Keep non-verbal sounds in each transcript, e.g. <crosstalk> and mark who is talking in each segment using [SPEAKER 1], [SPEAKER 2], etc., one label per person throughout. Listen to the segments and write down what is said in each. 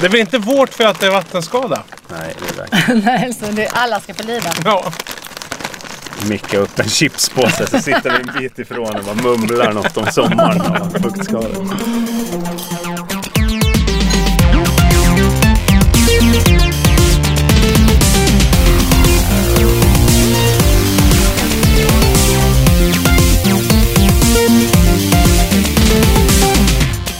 [SPEAKER 1] Det blir inte vårt för att det är vattenskada.
[SPEAKER 2] Nej, det är verkligen.
[SPEAKER 3] <laughs> Nej, så det, alla ska få lida.
[SPEAKER 1] Ja.
[SPEAKER 2] Micka upp en chipspåse så sitter vi en bit ifrån och bara mumlar något om sommaren och fuktskador.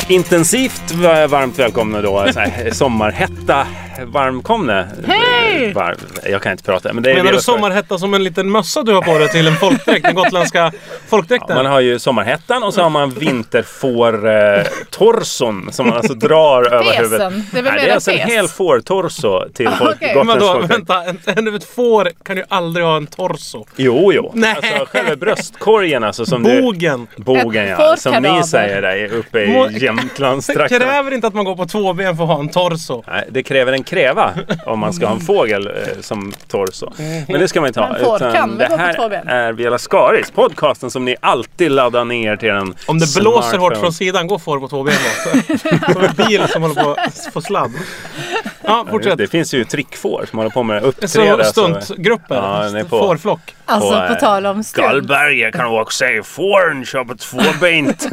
[SPEAKER 2] Intensivt va- varmt välkomna då. Så här, sommarhetta. Varmkomne.
[SPEAKER 3] Hej!
[SPEAKER 2] Var, jag kan inte prata. Men det är
[SPEAKER 1] Menar
[SPEAKER 2] det
[SPEAKER 1] du
[SPEAKER 2] jag ska-
[SPEAKER 1] sommarhetta som en liten mössa du har på dig till en folkdräkt? Den gotländska
[SPEAKER 2] Ja, man
[SPEAKER 1] folkdräkten?
[SPEAKER 2] har ju sommarhettan och så har man vinterfårtorson som man alltså drar
[SPEAKER 3] <laughs>
[SPEAKER 2] över
[SPEAKER 3] Fesen.
[SPEAKER 2] huvudet.
[SPEAKER 3] Det är väl
[SPEAKER 2] Nej, det är
[SPEAKER 3] mera
[SPEAKER 2] alltså en
[SPEAKER 3] fes.
[SPEAKER 2] hel fårtorso
[SPEAKER 3] <laughs>
[SPEAKER 2] till folk,
[SPEAKER 3] Ah, okej.
[SPEAKER 1] Men
[SPEAKER 2] Gotlands
[SPEAKER 1] då,
[SPEAKER 2] folk.
[SPEAKER 1] vänta, en- en- ett får kan ju aldrig ha en torso.
[SPEAKER 2] Jo, jo.
[SPEAKER 1] Nej.
[SPEAKER 2] Alltså själva bröstkorgen alltså. Som
[SPEAKER 1] Bogen!
[SPEAKER 2] Du, bogen,
[SPEAKER 3] Ett
[SPEAKER 2] ja. Som
[SPEAKER 3] fårkadaver.
[SPEAKER 2] ni säger där uppe
[SPEAKER 1] Må-
[SPEAKER 2] i
[SPEAKER 1] Det
[SPEAKER 2] Jämtlandstrakten.
[SPEAKER 1] kräver inte att man går på två ben för att ha en torso.
[SPEAKER 2] Nej, det kräver en kräva om man ska ha en
[SPEAKER 1] Mm.
[SPEAKER 2] fågel eh, som torso. Men det ska man inte ha.
[SPEAKER 3] Men får kan väl
[SPEAKER 2] det
[SPEAKER 3] gå på
[SPEAKER 2] här
[SPEAKER 3] två ben?
[SPEAKER 2] är Viola Skaris, podcasten som ni alltid laddar ner till en
[SPEAKER 1] Om det blåser hårt
[SPEAKER 2] smartphone.
[SPEAKER 1] från sidan, gå får på två ben då. Som en bil som håller på att få sladd. Ja, fortsätt.
[SPEAKER 2] Det finns ju trickfår som håller på med uppträda.
[SPEAKER 1] Så
[SPEAKER 2] så-
[SPEAKER 1] stuntgrupper.
[SPEAKER 2] alltså. Ja, den är på.
[SPEAKER 1] Fårflock.
[SPEAKER 3] Alltså
[SPEAKER 2] Och,
[SPEAKER 3] på
[SPEAKER 2] eh,
[SPEAKER 3] tal om stunt.
[SPEAKER 2] Gallberga kan du också säga fåren kör på tvåbent. <laughs> så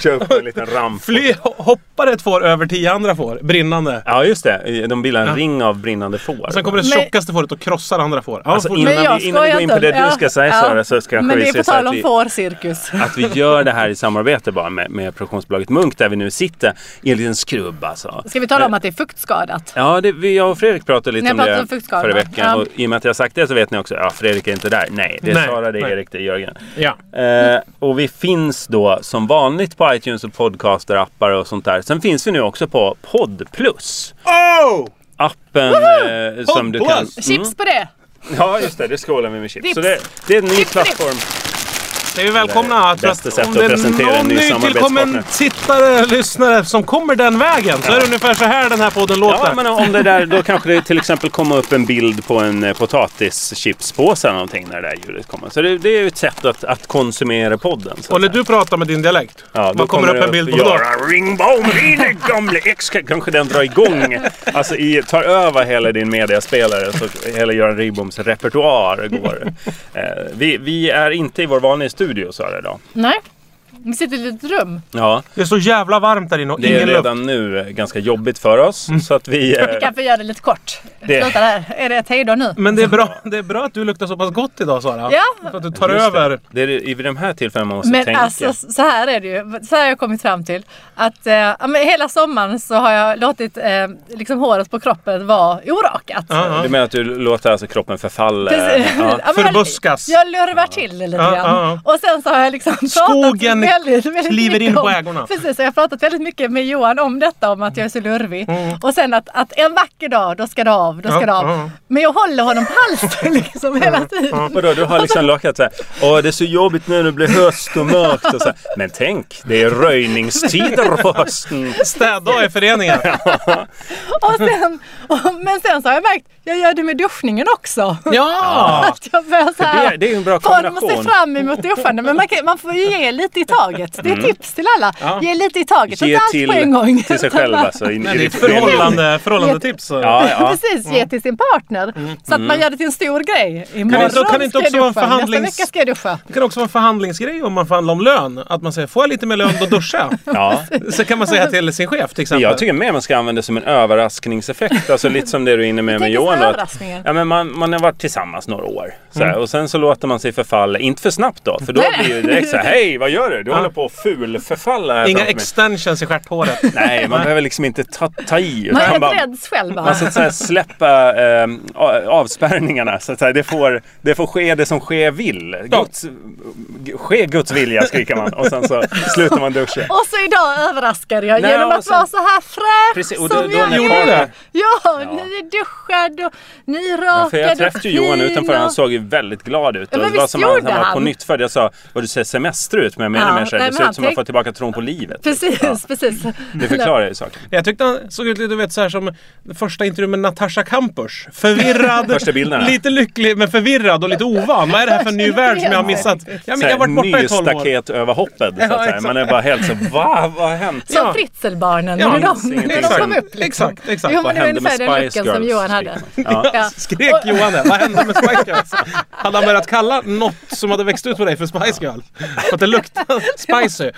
[SPEAKER 2] kör vi på en liten ramp.
[SPEAKER 1] Fly, ho- hoppar ett får över tio andra får, brinnande.
[SPEAKER 2] Ja just det, de bildar en ring av brinnande får.
[SPEAKER 1] Och sen kommer det
[SPEAKER 3] Men-
[SPEAKER 1] tjockaste fåret och krossar andra får. Ja,
[SPEAKER 2] Alltså,
[SPEAKER 1] fort-
[SPEAKER 2] innan
[SPEAKER 3] Men jag
[SPEAKER 2] vi- innan vi
[SPEAKER 3] skojar
[SPEAKER 2] går in
[SPEAKER 3] inte.
[SPEAKER 2] på det du ska säga, Sara, så ska jag
[SPEAKER 3] Men det
[SPEAKER 2] säga
[SPEAKER 3] är på
[SPEAKER 2] så att
[SPEAKER 3] tal om
[SPEAKER 2] vi-
[SPEAKER 3] fårcirkus.
[SPEAKER 2] att vi gör det här i samarbete bara med, med produktionsbolaget Munk där vi nu sitter i en liten skrubb alltså.
[SPEAKER 3] Ska vi tala om att det är fuktskadat?
[SPEAKER 2] Ja, det, vi, jag och Fredrik pratade lite
[SPEAKER 3] Ni
[SPEAKER 2] om
[SPEAKER 3] pratade
[SPEAKER 2] det
[SPEAKER 3] om fuktskadorna.
[SPEAKER 2] förra veckan.
[SPEAKER 3] Ja.
[SPEAKER 2] Och I och med att jag har sagt det så vet ni också, ja Fredrik är inte där. Nej, det är
[SPEAKER 1] Nej,
[SPEAKER 2] Sara, det är
[SPEAKER 1] nej.
[SPEAKER 2] Erik, det är Jörgen.
[SPEAKER 1] ja.
[SPEAKER 2] Eh, och vi finns då som vanligt på iTunes och podcaster, appar och sånt där. Sen finns vi nu också på Podplus.
[SPEAKER 1] Oh!
[SPEAKER 2] Appen eh, som du kan...
[SPEAKER 1] Podplus!
[SPEAKER 3] Chips på det!
[SPEAKER 2] Ja, just det. Det skålar vi med chips.
[SPEAKER 3] Dips.
[SPEAKER 2] Så det, det är en ny
[SPEAKER 3] Dips,
[SPEAKER 2] plattform.
[SPEAKER 1] Det är vi välkomna. Jag tror
[SPEAKER 2] Bästa sätt
[SPEAKER 1] att om
[SPEAKER 2] att
[SPEAKER 1] det
[SPEAKER 2] presentera
[SPEAKER 1] är
[SPEAKER 2] en
[SPEAKER 1] någon
[SPEAKER 2] ny
[SPEAKER 1] nytillkommen
[SPEAKER 2] samarbetspartner.
[SPEAKER 1] tittare, lyssnare som kommer den vägen så är det ungefär så här den här podden låter.
[SPEAKER 2] Ja, men om det där, då kanske det till exempel kommer upp en bild på en eh, potatischipspåse eller någonting när det där ljudet kommer. Så det, det är ju ett sätt att, att konsumera podden. Så
[SPEAKER 1] Och
[SPEAKER 2] att
[SPEAKER 1] när
[SPEAKER 2] säga.
[SPEAKER 1] du pratar med din dialekt,
[SPEAKER 2] Ja, då
[SPEAKER 1] vad kommer upp en bild på då?
[SPEAKER 2] Göra Ringbaum, din gamle ex Kanske den drar igång. Alltså i, tar över hela din mediaspelare. Så hela Göran Ringboms repertoar går. Eh, vi, vi är inte i vår vanliga studio sa jag idag.
[SPEAKER 3] Nej, vi sitter i ett litet rum.
[SPEAKER 2] Ja,
[SPEAKER 1] Det är så jävla varmt där inne och
[SPEAKER 2] det är
[SPEAKER 1] ingen luft.
[SPEAKER 2] redan nu eh, ganska jobbigt för oss. Så att vi... eh,
[SPEAKER 3] Mm. Vi kan få göra det lite kort.
[SPEAKER 2] Det- Mm.
[SPEAKER 3] Sluta där. Är det ett hejdå nu?
[SPEAKER 1] Men det är, bra, det är bra att du luktar så pass gott idag Sara.
[SPEAKER 3] Ja.
[SPEAKER 1] För att du tar
[SPEAKER 2] just det.
[SPEAKER 1] över.
[SPEAKER 2] Det är det- i de här tillfällena man måste
[SPEAKER 3] Men
[SPEAKER 2] tänka.
[SPEAKER 3] alltså så här är det ju. Så här har jag kommit fram till. Att eh, ja, men hela sommaren så har jag låtit eh, liksom håret på kroppen vara orakat.
[SPEAKER 1] Ja,
[SPEAKER 2] Du
[SPEAKER 1] ja.
[SPEAKER 2] menar att du låter alltså kroppen förfalla?
[SPEAKER 3] Precis.
[SPEAKER 2] Ja.
[SPEAKER 3] Ja, men jag-
[SPEAKER 1] Eh, Förbuskas.
[SPEAKER 3] Jag lurvar till det lite
[SPEAKER 1] Ja,
[SPEAKER 3] grann. Och sen så har jag liksom pratat
[SPEAKER 1] Skogen
[SPEAKER 3] väldigt, väldigt
[SPEAKER 1] kliver
[SPEAKER 3] mycket
[SPEAKER 1] in på
[SPEAKER 3] om-
[SPEAKER 1] ägorna.
[SPEAKER 3] Precis, så jag har pratat väldigt mycket med Johan om detta, om att jag är så lurvig. Och sen att, att en vacker dag, då ska det av, då ska
[SPEAKER 1] Mm. Ja,
[SPEAKER 3] det av.
[SPEAKER 1] ja. Mm,
[SPEAKER 3] Men jag håller honom på halsen <laughs> liksom hela tiden.
[SPEAKER 2] Vadå, du har liksom lockat så här. Åh, det är så jobbigt nu när det blir höst och mörkt och så här. Men tänk, det är röjningstider på hösten.
[SPEAKER 1] Städdag i
[SPEAKER 2] <laughs>
[SPEAKER 1] föreningen.
[SPEAKER 3] Och sen, och, men sen så har jag märkt, jag gör det med duschningen också.
[SPEAKER 1] Ja!
[SPEAKER 3] <laughs> Att jag börjar så
[SPEAKER 2] Det
[SPEAKER 3] här,
[SPEAKER 2] är, det är ju en bra
[SPEAKER 3] Form att se
[SPEAKER 2] kombination.
[SPEAKER 3] fram emot duschande. Men man, kan, man får ju ge lite i taget.
[SPEAKER 1] Mm.
[SPEAKER 3] Det är tips till alla. Ge lite i taget.
[SPEAKER 2] Ge
[SPEAKER 3] inte allt
[SPEAKER 2] till,
[SPEAKER 3] på en gång.
[SPEAKER 2] till
[SPEAKER 3] <laughs>
[SPEAKER 2] sig
[SPEAKER 3] utan
[SPEAKER 2] själv
[SPEAKER 3] bara-
[SPEAKER 2] alltså. i-
[SPEAKER 1] Nej,
[SPEAKER 2] i
[SPEAKER 1] det är ett
[SPEAKER 2] riktig ordning.
[SPEAKER 1] förhållande, förhållandetips.
[SPEAKER 2] Ja, Mm. ja.
[SPEAKER 3] <laughs> Precis, ge till sin partner. Så att man gör det till en stor grej.
[SPEAKER 1] inte-
[SPEAKER 3] Imorgon
[SPEAKER 1] kan det inte
[SPEAKER 3] ska jag
[SPEAKER 1] också vara en
[SPEAKER 3] duscha,
[SPEAKER 1] förhandlings-
[SPEAKER 3] nästa vecka ska jag duscha.
[SPEAKER 1] Det kan också vara en förhandlingsgrej om man förhandlar om lön. Att man säger, får jag lite mer lön då duschar jag.
[SPEAKER 2] Ja. <laughs>
[SPEAKER 1] Så kan man säga till sin chef till exempel.
[SPEAKER 2] Jag tycker mer man ska använda det som en överraskningseffekt. Alltså lite som det du är inne med med
[SPEAKER 3] Tänk
[SPEAKER 2] Johan.
[SPEAKER 3] oss
[SPEAKER 2] då, att-
[SPEAKER 3] överraskningar. Mm.
[SPEAKER 2] Ja, men man, man har varit tillsammans några år. Så här, Och sen så låter man sig förfalla. Inte för snabbt då. För då
[SPEAKER 3] Nej.
[SPEAKER 2] blir det direkt så här. Hej, vad gör du? Du håller på att fulförfalla. här
[SPEAKER 1] Inga
[SPEAKER 2] framför mig."
[SPEAKER 1] extensions i
[SPEAKER 2] <laughs>
[SPEAKER 1] stjärthåret.
[SPEAKER 2] Nej,
[SPEAKER 3] <laughs>
[SPEAKER 2] man behöver liksom inte ta, ta i.
[SPEAKER 3] Man
[SPEAKER 2] utan
[SPEAKER 3] är
[SPEAKER 2] bara-
[SPEAKER 3] rädd själv bara.
[SPEAKER 2] Man ska så här släppa eh, a- avspärrningarna. Så att säga. Det, får, det får ske det som ske vill.
[SPEAKER 1] Ja.
[SPEAKER 2] Guds, g- ske Guds vilja skriker man och sen så slutar man duscha.
[SPEAKER 3] Och så idag överraskade jag
[SPEAKER 2] Nej,
[SPEAKER 3] genom
[SPEAKER 2] och
[SPEAKER 3] att
[SPEAKER 2] sen-
[SPEAKER 3] vara så här fräsch
[SPEAKER 2] Precis, och då-
[SPEAKER 3] som
[SPEAKER 2] då
[SPEAKER 3] jag
[SPEAKER 2] när
[SPEAKER 1] Gjorde du
[SPEAKER 3] är.
[SPEAKER 1] det?
[SPEAKER 3] Ja, nyduschad och nyrakad
[SPEAKER 2] Ja, för jag träffade
[SPEAKER 3] och
[SPEAKER 2] ju Johan
[SPEAKER 3] fin
[SPEAKER 2] utanför.
[SPEAKER 3] och-
[SPEAKER 2] Han såg ju väldigt glad ut.
[SPEAKER 3] Ja,
[SPEAKER 2] och
[SPEAKER 3] men
[SPEAKER 2] det var
[SPEAKER 3] visst
[SPEAKER 2] som att
[SPEAKER 3] gjorde
[SPEAKER 2] han var
[SPEAKER 3] han.
[SPEAKER 2] på nytt för Jag sa, vad du ser semester ut. Men jag menar
[SPEAKER 3] Ja.
[SPEAKER 2] människa.
[SPEAKER 3] nej,
[SPEAKER 2] det
[SPEAKER 3] men
[SPEAKER 2] ser
[SPEAKER 3] han
[SPEAKER 2] ut som att man
[SPEAKER 3] tänk-
[SPEAKER 2] får tillbaka tron på livet.
[SPEAKER 3] Precis, precis.
[SPEAKER 2] Det förklarar ju saken.
[SPEAKER 1] Jag tyckte han såg ut lite, du vet, så här som den första intervjun med Natasha Kampusch. Förvirrad,
[SPEAKER 2] <laughs> Första bilderna.
[SPEAKER 1] lite lycklig men förvirrad och lite ovan. Vad är det här för ny värld som jag har missat? Ja, men jag har varit borta i 12 år.
[SPEAKER 2] staket över hoppet. Så att säga.
[SPEAKER 1] exakt.
[SPEAKER 2] Man är bara helt så va? Vad har hänt?
[SPEAKER 1] Ja.
[SPEAKER 3] <laughs> Som fritzelbarnen,
[SPEAKER 1] Ja,
[SPEAKER 3] när
[SPEAKER 2] det finns
[SPEAKER 3] de, när
[SPEAKER 2] ingenting.
[SPEAKER 3] de kom upp. Liksom.
[SPEAKER 1] Exakt, exakt.
[SPEAKER 3] Jo,
[SPEAKER 2] Vad
[SPEAKER 3] men det var
[SPEAKER 2] hände med
[SPEAKER 3] ungefär den
[SPEAKER 2] Spice
[SPEAKER 3] luckan
[SPEAKER 2] Girls?
[SPEAKER 3] som Johan hade.
[SPEAKER 2] Skrek man.
[SPEAKER 1] <laughs>
[SPEAKER 2] Ja.
[SPEAKER 3] Ja.
[SPEAKER 1] Skrek Johan det? Vad hände med Spice Girls? Hade han börjat kalla något som hade växt ut på dig för Spice Girl? För att det luktade spicy?
[SPEAKER 2] Ja,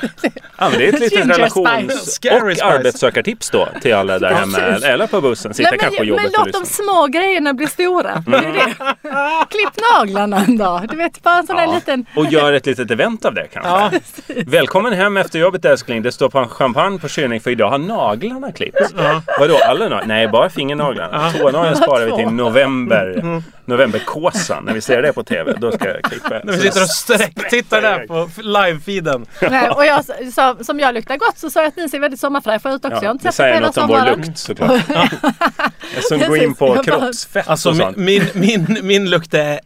[SPEAKER 2] men det är ett litet
[SPEAKER 3] <laughs> Ginger
[SPEAKER 2] relations
[SPEAKER 1] Spice. Scary
[SPEAKER 2] och
[SPEAKER 1] Spice.
[SPEAKER 2] arbetssökartips då till alla där hemma.
[SPEAKER 1] Precis.
[SPEAKER 2] Eller på bussen. Sitta
[SPEAKER 3] Nej,
[SPEAKER 2] kanske på
[SPEAKER 3] men,
[SPEAKER 2] jobbet
[SPEAKER 3] men
[SPEAKER 2] och
[SPEAKER 3] låt
[SPEAKER 2] lyssna.
[SPEAKER 3] de små grejerna bli stora. Det är det.
[SPEAKER 1] Mm.
[SPEAKER 3] Klipp naglarna en dag. Du vet, bara en sån där
[SPEAKER 2] Ja.
[SPEAKER 3] liten...
[SPEAKER 2] Och gör ett litet event av det kanske.
[SPEAKER 1] Ja.
[SPEAKER 2] Välkommen hem efter jobbet älskling. Det står på en champagne på kylning för idag har naglarna klippts. Vadå alla naglar? Nej, bara fingernaglarna. Tånaglarna sparar vi
[SPEAKER 3] två.
[SPEAKER 2] till
[SPEAKER 1] Mm.
[SPEAKER 2] november. Novemberkåsan. När vi ser det på TV, då ska jag klippa.
[SPEAKER 1] När vi
[SPEAKER 2] Så-
[SPEAKER 1] sitter och sträcktittar där på f- live-feeden.
[SPEAKER 3] Nej, och jag sa, som jag luktar gott så sa jag att ni ser väldigt sommarfräscha ut också. jag har
[SPEAKER 2] Ja,
[SPEAKER 3] inte
[SPEAKER 2] det
[SPEAKER 3] sett er
[SPEAKER 2] säger
[SPEAKER 3] på hela
[SPEAKER 2] något om vår
[SPEAKER 3] sommaren.
[SPEAKER 2] lukt såklart. <laughs> Som går
[SPEAKER 3] Precis.
[SPEAKER 2] in på
[SPEAKER 3] Jag bara-
[SPEAKER 2] kroppsfett
[SPEAKER 1] Alltså
[SPEAKER 2] och
[SPEAKER 1] min,
[SPEAKER 2] sånt.
[SPEAKER 1] min, min, min lukt är...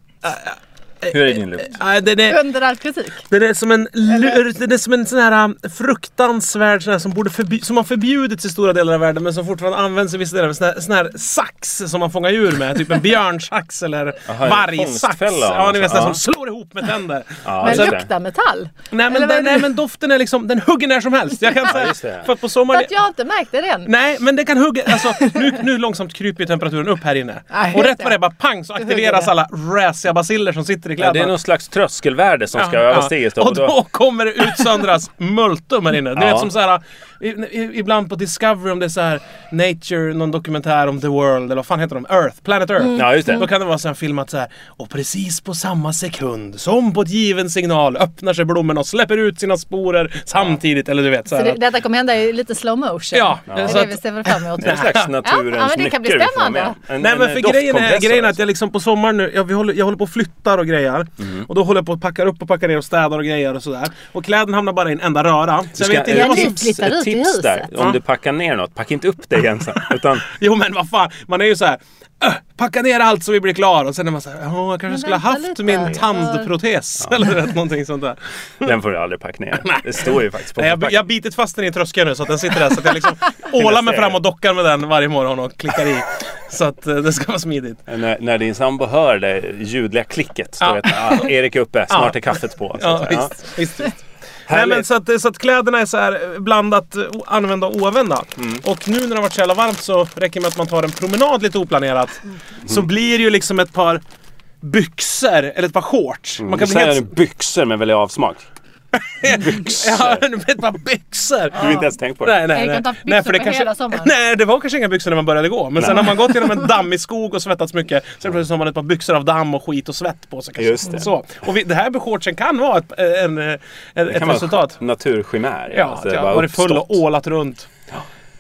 [SPEAKER 2] Hur är din lukt?
[SPEAKER 1] Äh, den, är
[SPEAKER 3] Under all kritik.
[SPEAKER 1] den är som en, lur- den är som en sån här um, fruktansvärd sån här som, borde förby, som har förbjudits i stora delar av världen men som fortfarande används i vissa delar. Sån här, sån här sax som man fångar djur med. Typ en björnsax eller
[SPEAKER 2] Aha, en
[SPEAKER 1] vargsax.
[SPEAKER 2] fångstfälla.
[SPEAKER 1] Ja, ni vet sån här
[SPEAKER 2] Ja.
[SPEAKER 1] som slår ihop med tänder.
[SPEAKER 2] <laughs> Ja,
[SPEAKER 3] Men
[SPEAKER 2] just det.
[SPEAKER 3] luktar metall.
[SPEAKER 1] Nej men,
[SPEAKER 3] Eller vad är
[SPEAKER 1] den,
[SPEAKER 3] det?
[SPEAKER 1] nej men doften är liksom, den hugger när som helst. Jag kan
[SPEAKER 2] just det.
[SPEAKER 1] säga, för att på
[SPEAKER 3] Så
[SPEAKER 1] sommaren...
[SPEAKER 3] att jag har inte märkt det än.
[SPEAKER 1] Nej men den kan hugga, alltså nu, nu långsamt kryper ju temperaturen upp här inne.
[SPEAKER 3] Nej,
[SPEAKER 1] och
[SPEAKER 3] Ah, just
[SPEAKER 1] rätt vad det är bara pang så
[SPEAKER 3] hugger
[SPEAKER 1] aktiveras
[SPEAKER 3] det.
[SPEAKER 1] alla räsiga basiller som sitter i
[SPEAKER 2] Ja,
[SPEAKER 1] kläderna.
[SPEAKER 2] det är någon slags tröskelvärde som ska överstigas. då,
[SPEAKER 1] Och då kommer det utsöndras multum här inne. Du
[SPEAKER 2] Ja.
[SPEAKER 1] vet som så här, i, i, ibland på Discovery om det är så här Nature, någon dokumentär om the world eller vad fan heter de? Earth, Planet Earth.
[SPEAKER 2] Mm. Ja, just det.
[SPEAKER 1] Då kan det vara så här filmat så här. Och precis på samma sekund som på ett given signal öppnar sig blommorna och släpper ut sina sporer samtidigt. Eller du vet så
[SPEAKER 3] Så
[SPEAKER 1] här.
[SPEAKER 3] det, detta kommer hända i lite slow motion.
[SPEAKER 1] Ja,
[SPEAKER 3] Det är
[SPEAKER 1] så
[SPEAKER 3] det
[SPEAKER 1] att-
[SPEAKER 3] vi ser fram emot.
[SPEAKER 2] Det är en slags naturens
[SPEAKER 3] Ja, men det kan bli
[SPEAKER 2] nycker vi får
[SPEAKER 3] spännande.
[SPEAKER 2] med. En-
[SPEAKER 1] Nej
[SPEAKER 2] en eh,
[SPEAKER 1] men för grejen är,
[SPEAKER 2] doftkompressor
[SPEAKER 1] grejen är att
[SPEAKER 2] alltså.
[SPEAKER 1] jag liksom på sommaren nu, jag, vi håller, jag håller på och flyttar och grejer.
[SPEAKER 2] Mm.
[SPEAKER 1] Och då håller jag på att packar upp och packar ner och städar och grejer och sådär. Och kläderna hamnar bara i en enda röra. Så jag
[SPEAKER 2] Ska-
[SPEAKER 1] vet inte,
[SPEAKER 2] ett
[SPEAKER 1] jag
[SPEAKER 3] Ja,
[SPEAKER 1] måste,
[SPEAKER 3] ni flyttar
[SPEAKER 2] ett
[SPEAKER 3] ut i
[SPEAKER 2] tips
[SPEAKER 3] huset.
[SPEAKER 2] där. Om
[SPEAKER 1] Ja.
[SPEAKER 2] du packar ner något, packa inte upp
[SPEAKER 1] <laughs>
[SPEAKER 2] dig ensam. Utan
[SPEAKER 1] jo men vad fan, man är ju såhär "Öh, Packa ner allt så vi blir klara och sen är man såhär, "Åh, jag kanske skulle ha haft
[SPEAKER 3] vänta lite.
[SPEAKER 1] min tandprotes eller du vet, någonting sånt där.
[SPEAKER 2] den får du aldrig packa ner. Det står ju faktiskt på
[SPEAKER 1] Nej, jag jag har bitit fast den i en tröskel nu så att den sitter där så att jag
[SPEAKER 2] <laughs>
[SPEAKER 1] liksom ålar mig fram och dockar med den varje morgon och klickar i. Så att eh, det ska vara smidigt.
[SPEAKER 2] När, när din sambo hör det ljudliga klicket. Då
[SPEAKER 1] Ja.
[SPEAKER 2] vet man, ah, Erik är uppe, snart är kaffet på. så att
[SPEAKER 1] Ja,
[SPEAKER 2] säga. Ja.
[SPEAKER 1] visst, visst, visst. Nej,
[SPEAKER 2] Härligt.
[SPEAKER 1] men så, att, så att kläderna är så här blandat eh, o- använda och oanvända.
[SPEAKER 2] Mm.
[SPEAKER 1] Och nu när det har varit så jävla varmt så räcker det med att man tar en promenad lite oplanerat.
[SPEAKER 2] Mm.
[SPEAKER 1] Så blir det ju liksom ett par byxor eller ett par shorts. Man kan
[SPEAKER 2] Du
[SPEAKER 1] bli
[SPEAKER 2] säger
[SPEAKER 1] helt...
[SPEAKER 2] byxor men väljer avsmak. byxor.
[SPEAKER 1] <laughs> Ja, <laughs> ett par byxor!
[SPEAKER 2] Du har inte ens tänkt på det?
[SPEAKER 1] Nej, nej,
[SPEAKER 3] Jag kan
[SPEAKER 1] nej.
[SPEAKER 3] ta byxor
[SPEAKER 1] nej, för det
[SPEAKER 3] på
[SPEAKER 1] kanske,
[SPEAKER 3] hela sommaren.
[SPEAKER 1] nej, det var kanske inga byxor när man började gå. Men sen har man gått genom
[SPEAKER 2] <laughs>
[SPEAKER 1] en dammig skog och svettats mycket. Sen plötsligt har man ett par byxor av damm och skit och svett på sig. Kanske.
[SPEAKER 2] Just det.
[SPEAKER 1] Så. Och vi, det här med shortsen kan vara ett, eh, en, en,
[SPEAKER 2] Det
[SPEAKER 1] ett
[SPEAKER 2] kan vara
[SPEAKER 1] resultat.
[SPEAKER 2] naturchimär.
[SPEAKER 1] Ja,
[SPEAKER 2] alltså,
[SPEAKER 1] att
[SPEAKER 2] det
[SPEAKER 1] jag
[SPEAKER 2] bara
[SPEAKER 1] har varit full och
[SPEAKER 2] uppstått.
[SPEAKER 1] ålat runt.